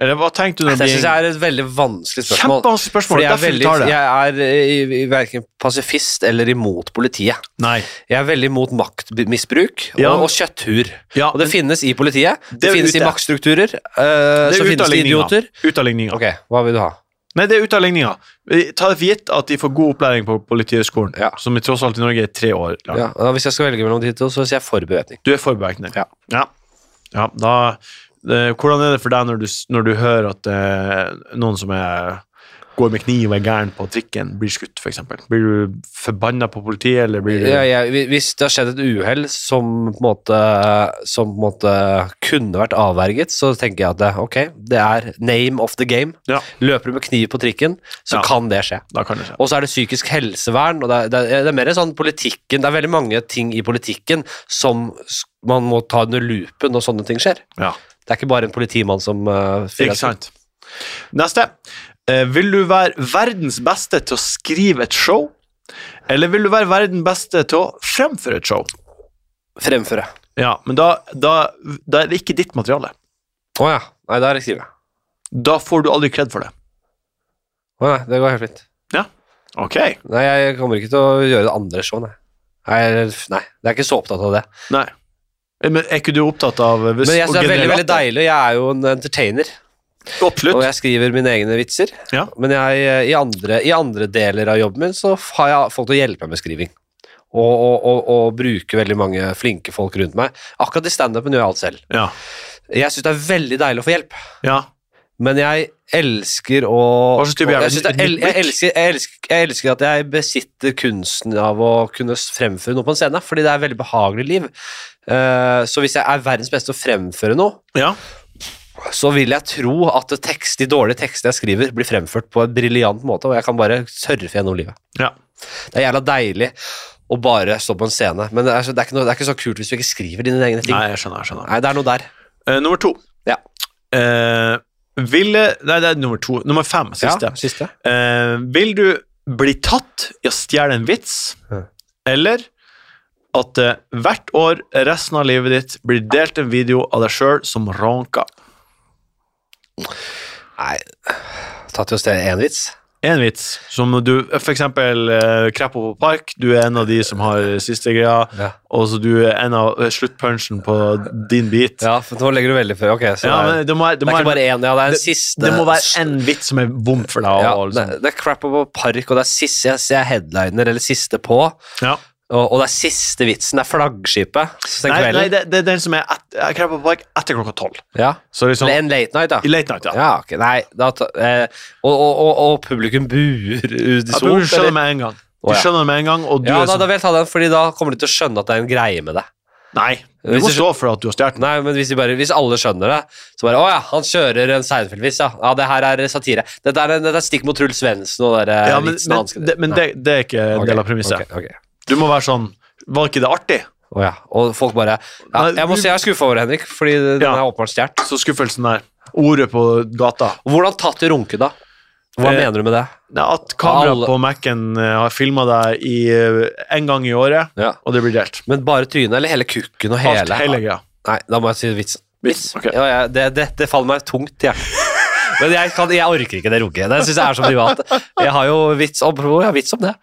Eller hva tenkte du?
Det
når
syns
det blir-
Altså, jeg er et veldig vanskelig spørsmål.
Kjempevanskelig spørsmål.
Fordi jeg er,
Derfor vi
veldig,
tar det.
jeg er eh, i- i- verken pasifist eller imot politiet.
Nei.
Jeg er veldig imot maktmisbruk og,
Ja.
og kjøtthur.
Ja,
og det finnes i politiet. Det,
Det er
finnes i
ute.
maktstrukturer. eh,
Det
så
er ut
finnes
av
det
ligninga.
idioter.
Ut av ligninga.
Ok, hva vil du ha?
Nei, det er ut av ligninga. Vi tar det for gitt at de får god opplæring på Politihøgskolen,
Ja.
som i tross alt i Norge er tre år lang.
Ja, og hvis jeg skal velge mellom de to, så sier jeg for bevæpning.
Du er forberedt.
Ja.
ja. Ja, da eh, Hvordan er det for deg når du, s- når du hører at eh, noen som er går med kniv og er gæren på trikken, blir skutt, f.eks.? Blir du forbanna på politiet, eller blir du
Ja, jeg, hvis det har skjedd et uhell som, på en måte- som på en måte kunne vært avverget, så tenker jeg at det, ok, det er name of the game.
Ja,
Løper du med kniv på trikken, så
Ja.
kan det skje.
da kan det skje.
Og så er det psykisk helsevern, og det er, det er, det er mer sånn politikken Det er veldig mange ting i politikken som s- man må ta under lupen når sånne ting skjer.
Ja.
Det er ikke bare en politimann som uh,
Ikke sant. Neste. Eh, vil du være verdens beste til å skrive et show, eller vil du være verdens beste til å fremføre et show?
fremføre.
Ja, men da, da, da er det ikke ditt materiale.
Å ja. Nei, da er det skrive.
Da får du aldri kred for det.
Å nei, det går helt fint.
Ok.
Nei, jeg kommer ikke til å gjøre det andre show, nei. Nei, nei, jeg er ikke så opptatt av det.
Nei. Eh, Men er ikke du opptatt av eh, hvis,
Men jeg synes
å
det er veldig
generere
veldig
latter?
deilig. Jeg er jo en entertainer, og
Absolutt.
jeg skriver mine egne vitser.
Ja.
Men jeg, eh, i, andre, i andre deler av jobben min så har jeg folk til å hjelpe meg med skriving. Og, og, og, og bruke veldig mange flinke folk rundt meg. Akkurat i standupen gjør jeg alt selv.
Ja.
Jeg syns det er veldig deilig å få hjelp,
ja.
men jeg elsker å
Hva slags type
og
er du?
jeg, synes det er-
Nytt
jeg,
blikk?
elsker, jeg, elsker, jeg elsker at jeg besitter kunsten av å kunne s- fremføre noe på en scene, fordi det er et veldig behagelig liv. Eh, så hvis jeg er verdens beste til å fremføre noe,
ja.
så vil jeg tro at tekst, de dårlige tekstene jeg skriver, blir fremført på en briljant måte, og jeg kan bare surfe gjennom livet.
Ja.
Det er jævla deilig å bare stå på en scene, men det er, så, det, er ikke noe, det er ikke så kult hvis du ikke skriver dine egne ting.
Nei,
Nei,
jeg skjønner. jeg skjønner.
det er noe der.
Eh, nummer to.
Ja.
Eh, ville Nei, det er nummer to. Nummer fem, siste.
Ja, siste.
Eh, vil du bli tatt i å stjele en vits,
Ja.
eller at eh, hvert år resten av livet ditt blir delt en video av deg sjøl som ronker?
Nei, tatt i oss til en vits.
En vits som du For eksempel eh, Kreppo på Park. Du er en av de som har siste greia,
Ja.
og så du er en av eh, sluttpunchen på din bit.
Ja, for nå legger du veldig før. Ok, så
Ja,
det, er,
men det, må, det,
det
må
er ikke
være,
bare en, ja, det er en
det-
siste.
det må være en vits som er vond for deg.
ja,
og,
det,
liksom.
det er crap på park, og det er siste jeg ser headliner, eller siste på, og,
ja.
og det er siste vitsen, det er flaggskipet. Så den
Nei,
kvelden.
nei det, det er den som er et, Kreppo på Park etter klokka tolv.
Ja.
Så liksom
Eller en late night, da.
I late night, ja.
Ja, ok, nei da, ta- eh, og, og, og, og publikum buer
Ja, du
unisont.
skjønner det
eller?
med en gang. Du
Å, ja.
skjønner det med en gang, og du
Ja,
er
da,
sånn
da vil jeg ta den, Fordi da kommer de til å skjønne at det er en greie med det.
Nei, du
Hvis
må
du
stå for at du har stjålet den.
Nei, men Hvis, de bare, hvis alle skjønner det, så bare Å ja, han kjører en Seinfeld-vits, ja. ja. Det her er satire. Dette er, en- dette er stikk mot Truls Svendsen og den
Ja,
ja,
men,
vitsen
men,
hans.
det, men
Nei.
det, det er ikke en
Ok,
del av premisset.
ok, ok.
Du må være sånn Var ikke det artig?
Å ja. Og folk bare ja,
Nei,
Jeg må
du-
si jeg er skuffa over Henrik, fordi den
Ja.
er åpenbart stjålet.
Så skuffelsen der. Ordet på gata.
Hvordan tatt i runke, da? Hva
Eh,
mener du med det?
Nei, at kameraet
Alle-
på Mac-en eh, har filma deg i, eh, en gang i året,
Ja.
og det blir delt.
Men bare trynet, eller hele kukken og hele?
Alt hele greia.
Nei, da må jeg si vitsen.
Vits, ok.
Ja, ja, det, det, det faller meg tungt til hjertet. Men jeg, kan, jeg orker ikke det runket. Det syns jeg er så privat. Jeg har jo vits om, jeg har vits om det.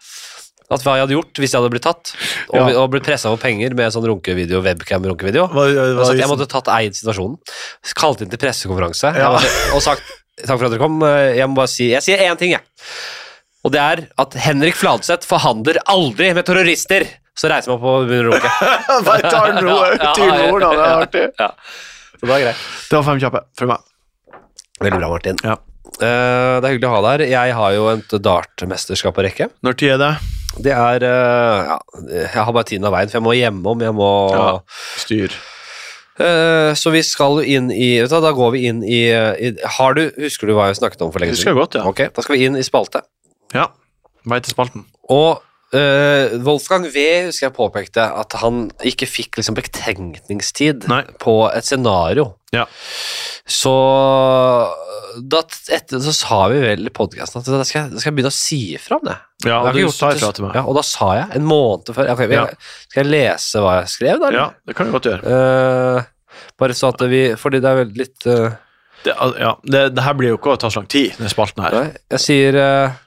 At hva jeg hadde gjort hvis jeg hadde blitt tatt og,
Ja.
og blitt pressa for penger med sånn runkevideo, webcam-runkevideo.
Hva, hva,
Altså, jeg
vitsen?
måtte tatt eid situasjonen. Kalt inn til pressekonferanse
Ja.
jeg måtte, og sagt takk for at dere kom. Jeg må bare si Jeg sier én ting, jeg. Og det er at Henrik Fladseth forhandler aldri med terrorister. Så reiser man på og begynner å runke.
Bare tar den rolig,
Ja, ja,
til
ja.
rolig, det er artig.
Ja. Så det var greit.
Det var fem kjappe for meg.
Veldig bra, Martin.
Ja.
Eh, det er hyggelig å ha deg her. Jeg har jo et dartmesterskap å rekke.
Når tid er det?
Det er eh, ja, Jeg har bare tiden av veien, for jeg må hjemom. Jeg må
Ja. Styr.
Eh, Så vi skal jo inn i vet du, hva, Da går vi inn i, eh, i Har du Husker du hva jeg snakket om for lenge
Husker
siden?
jeg godt, ja.
Ok, Da skal vi inn i spalte.
ja. Vei til spalten.
Og eh, Wolfgang V husker jeg påpekte at han ikke fikk liksom betenkningstid
Nei.
på et scenario.
Ja.
Så da t- etter, så sa vi vel i podkasten at da skal, jeg- da skal jeg begynne å si ifra om det. Jeg
Ja,
har
og
ikke
du
gjort
sa
det til-
ifra til meg.
Ja, og da sa jeg, en måned før Ok, vi-
Ja.
Skal jeg lese hva jeg skrev, da? eller?
Ja, det kan du godt gjøre.
Eh, bare så at vi Fordi det er veldig litt eh,
Det, al- ja, det, det her blir jo ikke å ta så lang tid, denne spalten her.
Nei, jeg sier eh,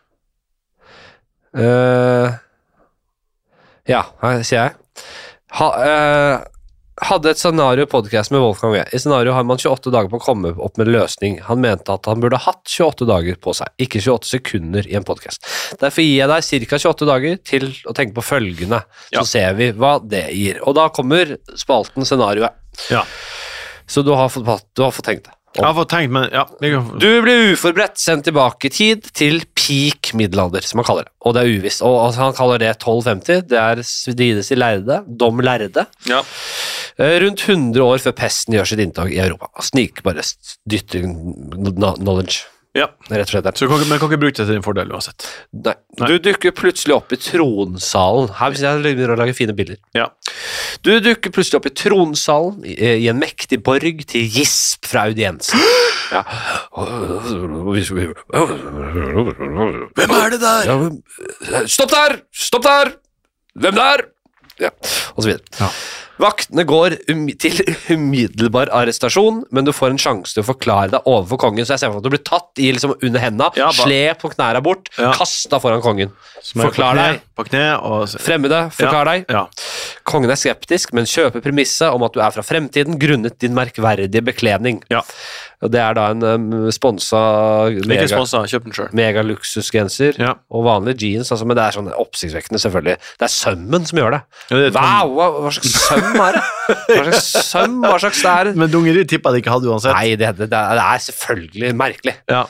eh, Ja, her sier jeg. Ha, eh, hadde et scenario podcast med Wolfgang V. I scenario har man 28 dager på å komme opp med en løsning. Han mente at han burde hatt 28 dager på seg, ikke 28 sekunder i en podcast. Derfor gir jeg deg ca. 28 dager til å tenke på følgende,
Ja.
så ser vi hva det gir. Og da kommer spalten scenarioet.
Ja.
Så du har fått, du har fått tenkt det.
Jeg har fått tenkt, men ja, vi kan,
Du blir uforberedt sendt tilbake i tid til peak middelalder, som han kaller det. Og det er uvisst. Og altså, han kaller det 1250. Det er Svidides i lærde, dom lærde.
ja.
Eh, Rundt 100 år før pesten gjør sitt inntog i Europa. Snik bare s- dytter kn- knowledge,
ja.
rett og slett. der.
Så du kan, ikke- men du kan ikke bruke det til din fordel uansett.
Nei. Du dukker plutselig opp i tronsalen. Her hvis jeg begynner å lage fine bilder.
Ja.
Du dukker plutselig opp i tronsalen i, eh, i en mektig borg til gisp fra audiensen. Ja.
Hvem er det der?
Ja, men, eh, Stopp der! Stopp der! Hvem der? Ja, og så videre.
Ja.
Vaktene går umi- til umiddelbar arrestasjon, men du får en sjanse til å forklare deg overfor kongen. Så jeg ser for meg at du blir tatt i liksom under henda,
Ja, ba-
slept på knærne bort,
Ja.
kasta foran kongen.
Som er på
Forklar
kne-
deg.
På kne og
Fremmede, forklar deg.
Ja.
Kongen er skeptisk, men kjøper premisset om at du er fra fremtiden grunnet din merkverdige bekledning.
Ja.
Og Det er da en um, sponsa
Ikke
mega,
sponsa, kjøp den sjøl.
megaluksusgenser
Ja.
og vanlige jeans, altså, men det er sånn oppsiktsvekkende, selvfølgelig. Det er sømmen som gjør det.
Ja, det er sånn-
Wow, hva, hva slags søm er det? Hva slags søm, hva slags det er?
Men dungeri tippa jeg det ikke hadde uansett.
Nei, det, det, det er selvfølgelig merkelig.
Ja.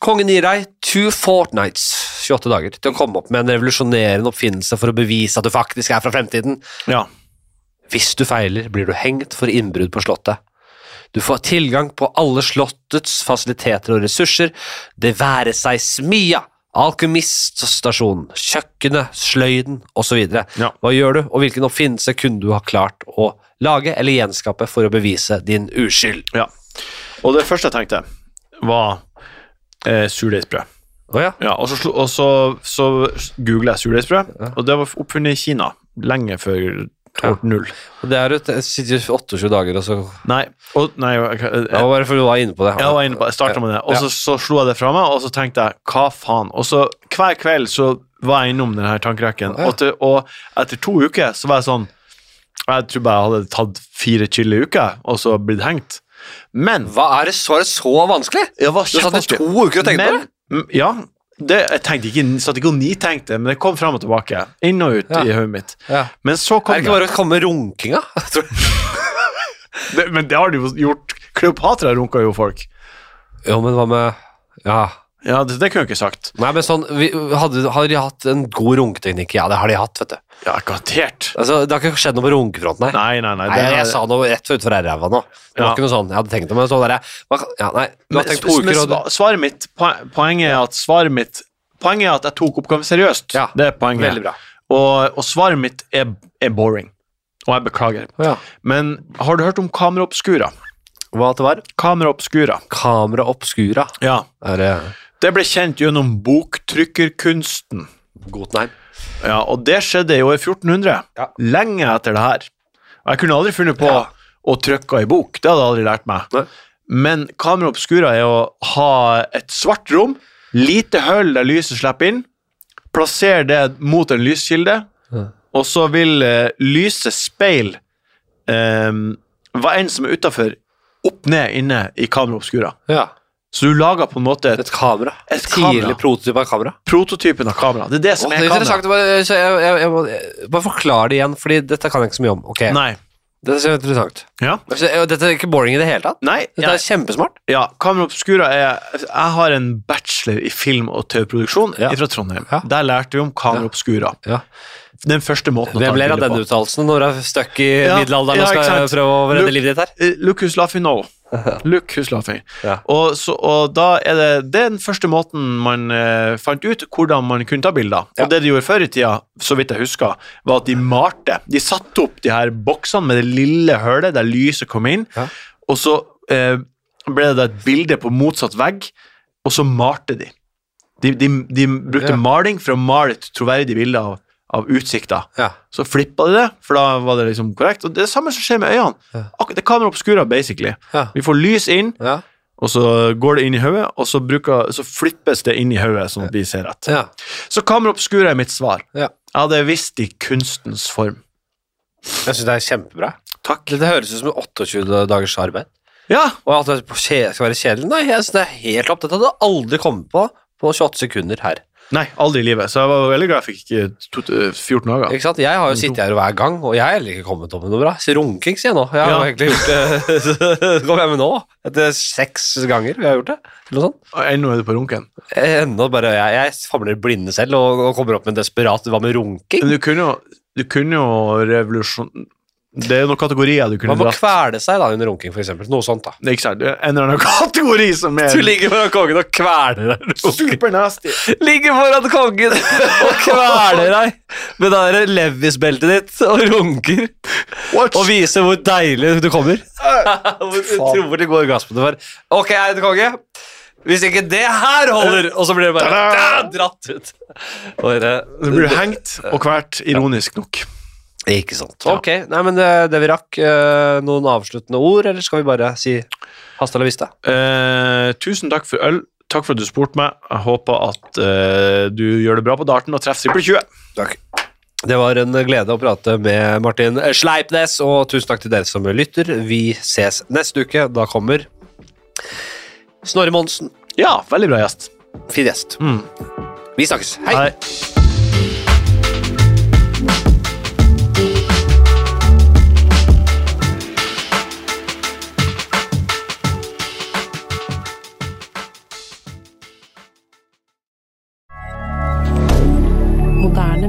Kongen gir deg two fortnights, 28 dager, til å komme opp med en revolusjonerende oppfinnelse for å bevise at du faktisk er fra fremtiden.
ja.
Hvis du feiler, blir du hengt for innbrudd på slottet. Du får tilgang på alle slottets fasiliteter og ressurser, det være seg smia, alkymiststasjonen, kjøkkenet, sløyden osv.
Ja.
Hva gjør du, og hvilken oppfinnelse kunne du ha klart å lage eller gjenskape for å bevise din uskyld?
ja. Og det første jeg tenkte, var eh, surdeigsbrød.
Å ja.
Ja, og så, slo- og så, så googlet jeg surdeigsbrød, og det var oppfunnet i Kina lenge før år null.
Det er jo det sitter jo 28 dager, og så
Nei, og, nei jeg, jeg,
Det var bare fordi du var inne på det.
jeg var inne på, jeg startet med det, og
Ja.
så, så slo jeg det fra meg, og så tenkte jeg, hva faen? Og så hver kveld så var jeg innom denne her tankerekken,
Ja.
og, til, og etter to uker så var jeg sånn, jeg tror bare jeg hadde tatt fire chille uker, og så blitt hengt. Men,
Hva er det så, er det så vanskelig?
jeg var
Du satt i
kjempevanskelig.
to uker og tenkte på det?
men, mm, Ja, det, jeg tenkte ikke, satt ikke og nitenkte, men det kom frem og tilbake, inn og ut
Ja.
i høyet mitt.
Ja.
Men så
Er
kom
det
det,
ikke bare å komme med runkinga?
det Men det har de jo gjort Kleopatra runka jo folk
Jo, men hva med Ja.
Ja, det, det kunne jeg ikke sagt
Nei, men sånn, vi, hadde, har de hatt en god runketeknikk? Ja, det har de hatt, vet du.
Ja, garantert
Altså, det har ikke skjedd noe på runkefronten, nei.
Nei, nei, nei,
Nei,
det
jeg
er-
sa noe rett utfor ræva nå. Det var
Ja.
ikke noe sånn jeg hadde tenkt om det. Sånn der, hva- ja, nei, du
Men
har tenkt to
men
uker, og
sva- Svaret mitt, poen- poenget er at Svaret mitt, poenget er at jeg tok oppgaven seriøst
Ja,
Det er poenget
veldig bra.
Og, og svaret mitt er, er boring Og jeg beklager
Å, ja.
Men har du hørt om kamera obscura?
Hva at det var?
Kamera obscura
Kamera obscura.
Ja
Er det
Det ble kjent gjennom boktrykkerkunsten
Gotenheim?
Ja, og det skjedde i år 1400.
Ja.
Lenge etter det her. Og jeg kunne aldri funnet på
Ja.
å trykke i bok. Det hadde jeg aldri lært meg.
Nei.
Men kamera obscura er å ha et svart rom, lite hull der lyset slipper inn, plassere det mot en lyskilde,
Ja.
og så vil eh, lyset speil eh, hva enn som er utafor, opp ned inne i kamera obscura.
Ja.
Så du lager på en måte et,
Et kamera.
Et
Tidlig
kamera.
prototyp av kamera.
prototypen av kamera. Det er det
Åh,
som
det er
er kamera.
interessant. Bare, så jeg, jeg, jeg, må- bare forklar det igjen, Fordi dette kan jeg ikke så mye om. Ok,
Nei.
Dette er interessant.
Ja.
Altså, Dette er ikke boring i det hele tatt.
Nei,
Dette er kjempesmart.
Ja, Kamera Obscura er Jeg har en bachelor i film- og TV-produksjon
Ja.
fra Trondheim.
Ja.
Der lærte vi om Kamera
Ja.
Obscura.
Ja.
Den første måten
Hvem ler av
bilde
den uttalelsen når du er stuck i
Ja,
middelalderen
ja,
og skal
ikke sant.
prøve å redde
Look-
livet ditt her?
Eh, Look who's laughing now. Look who's laughing.
Ja.
Og, så, og da er det, det er den første måten man eh, fant ut hvordan man kunne ta bilder.
Ja.
Og det de gjorde før i tida, så vidt jeg husker, var at de malte. De satte opp de her boksene med det lille hølet der lyset kom inn,
Ja.
og så eh, ble det da et bilde på motsatt vegg, og så malte de. De, de, de brukte
Ja.
maling for å male et troverdig bilde av, av utsikta.
Ja.
Så flippa de det, for da var det liksom korrekt. Og det er det samme som skjer med øynene.
Ja.
Ak- Det er kamera obscura, basically.
Ja.
Vi får lys inn,
Ja.
og så går det inn i hodet, og så, bruker, så flippes det inn i hodet, sånn at vi ser rett.
Ja.
Så kamera obscura er mitt svar.
Ja.
Jeg hadde visst i kunstens form.
Jeg syns det er kjempebra.
Takk.
Det, det høres ut som en 28 dagers arbeid.
Ja,
Og at det kje- skal være kjedelig. Nei, jeg synes det er helt opp. Dette hadde jeg aldri kommet på på 28 sekunder her.
Nei, aldri i livet. Så jeg var veldig glad jeg fikk eh, to, eh, 14 dager.
Ikke sant? Jeg har jo sittet her hver gang, og jeg har heller ikke kommet opp med noe bra. Så runking, sier jeg nå. Jeg har
Ja.
jo egentlig gjort det Så kommer jeg med nå. Etter seks ganger vi har gjort det. Eller noe sånt.
Og Ennå er du på runken.
Ennå bare Jeg, jeg famler blinde selv og, og kommer opp med en desperat Hva med runking?
Men du kunne jo, du kunne jo revolusjon... Det er jo noen kategorier du kunne
Man må
dratt.
kvele seg da under runking, for eksempel. Noe sånt, da.
Det er ikke sant. Det er En eller annen kategori som er
Du ligger foran kongen og kveler deg.
supernasty.
Ligger foran kongen og kveler deg med det der Levis-beltet ditt og runker.
What?
Og vise hvor deilig du kommer. Hvor
faen.
utrolig god orgasme du får. Ok, jeg er konge. Hvis ikke det her holder, og så blir det bare
Ta-da!
da, dratt ut. Og det,
Det blir hengt og hvert, ironisk nok.
ikke sant. Ok, nei, men det, det vi rakk. eh, Noen avsluttende ord, eller skal vi bare si hasta la vista?
Eh, tusen takk for øl. Takk for at du spurte meg. Jeg håper at eh, du gjør det bra på darten og treffer trippel 20.
Det var en glede å prate med Martin Sleipnes, og tusen takk til dere som lytter. Vi ses neste uke. Da kommer Snorre Monsen.
Ja, veldig bra gjest.
Fin gjest.
Mm.
Vi snakkes. Hei!
Hei.
Moderne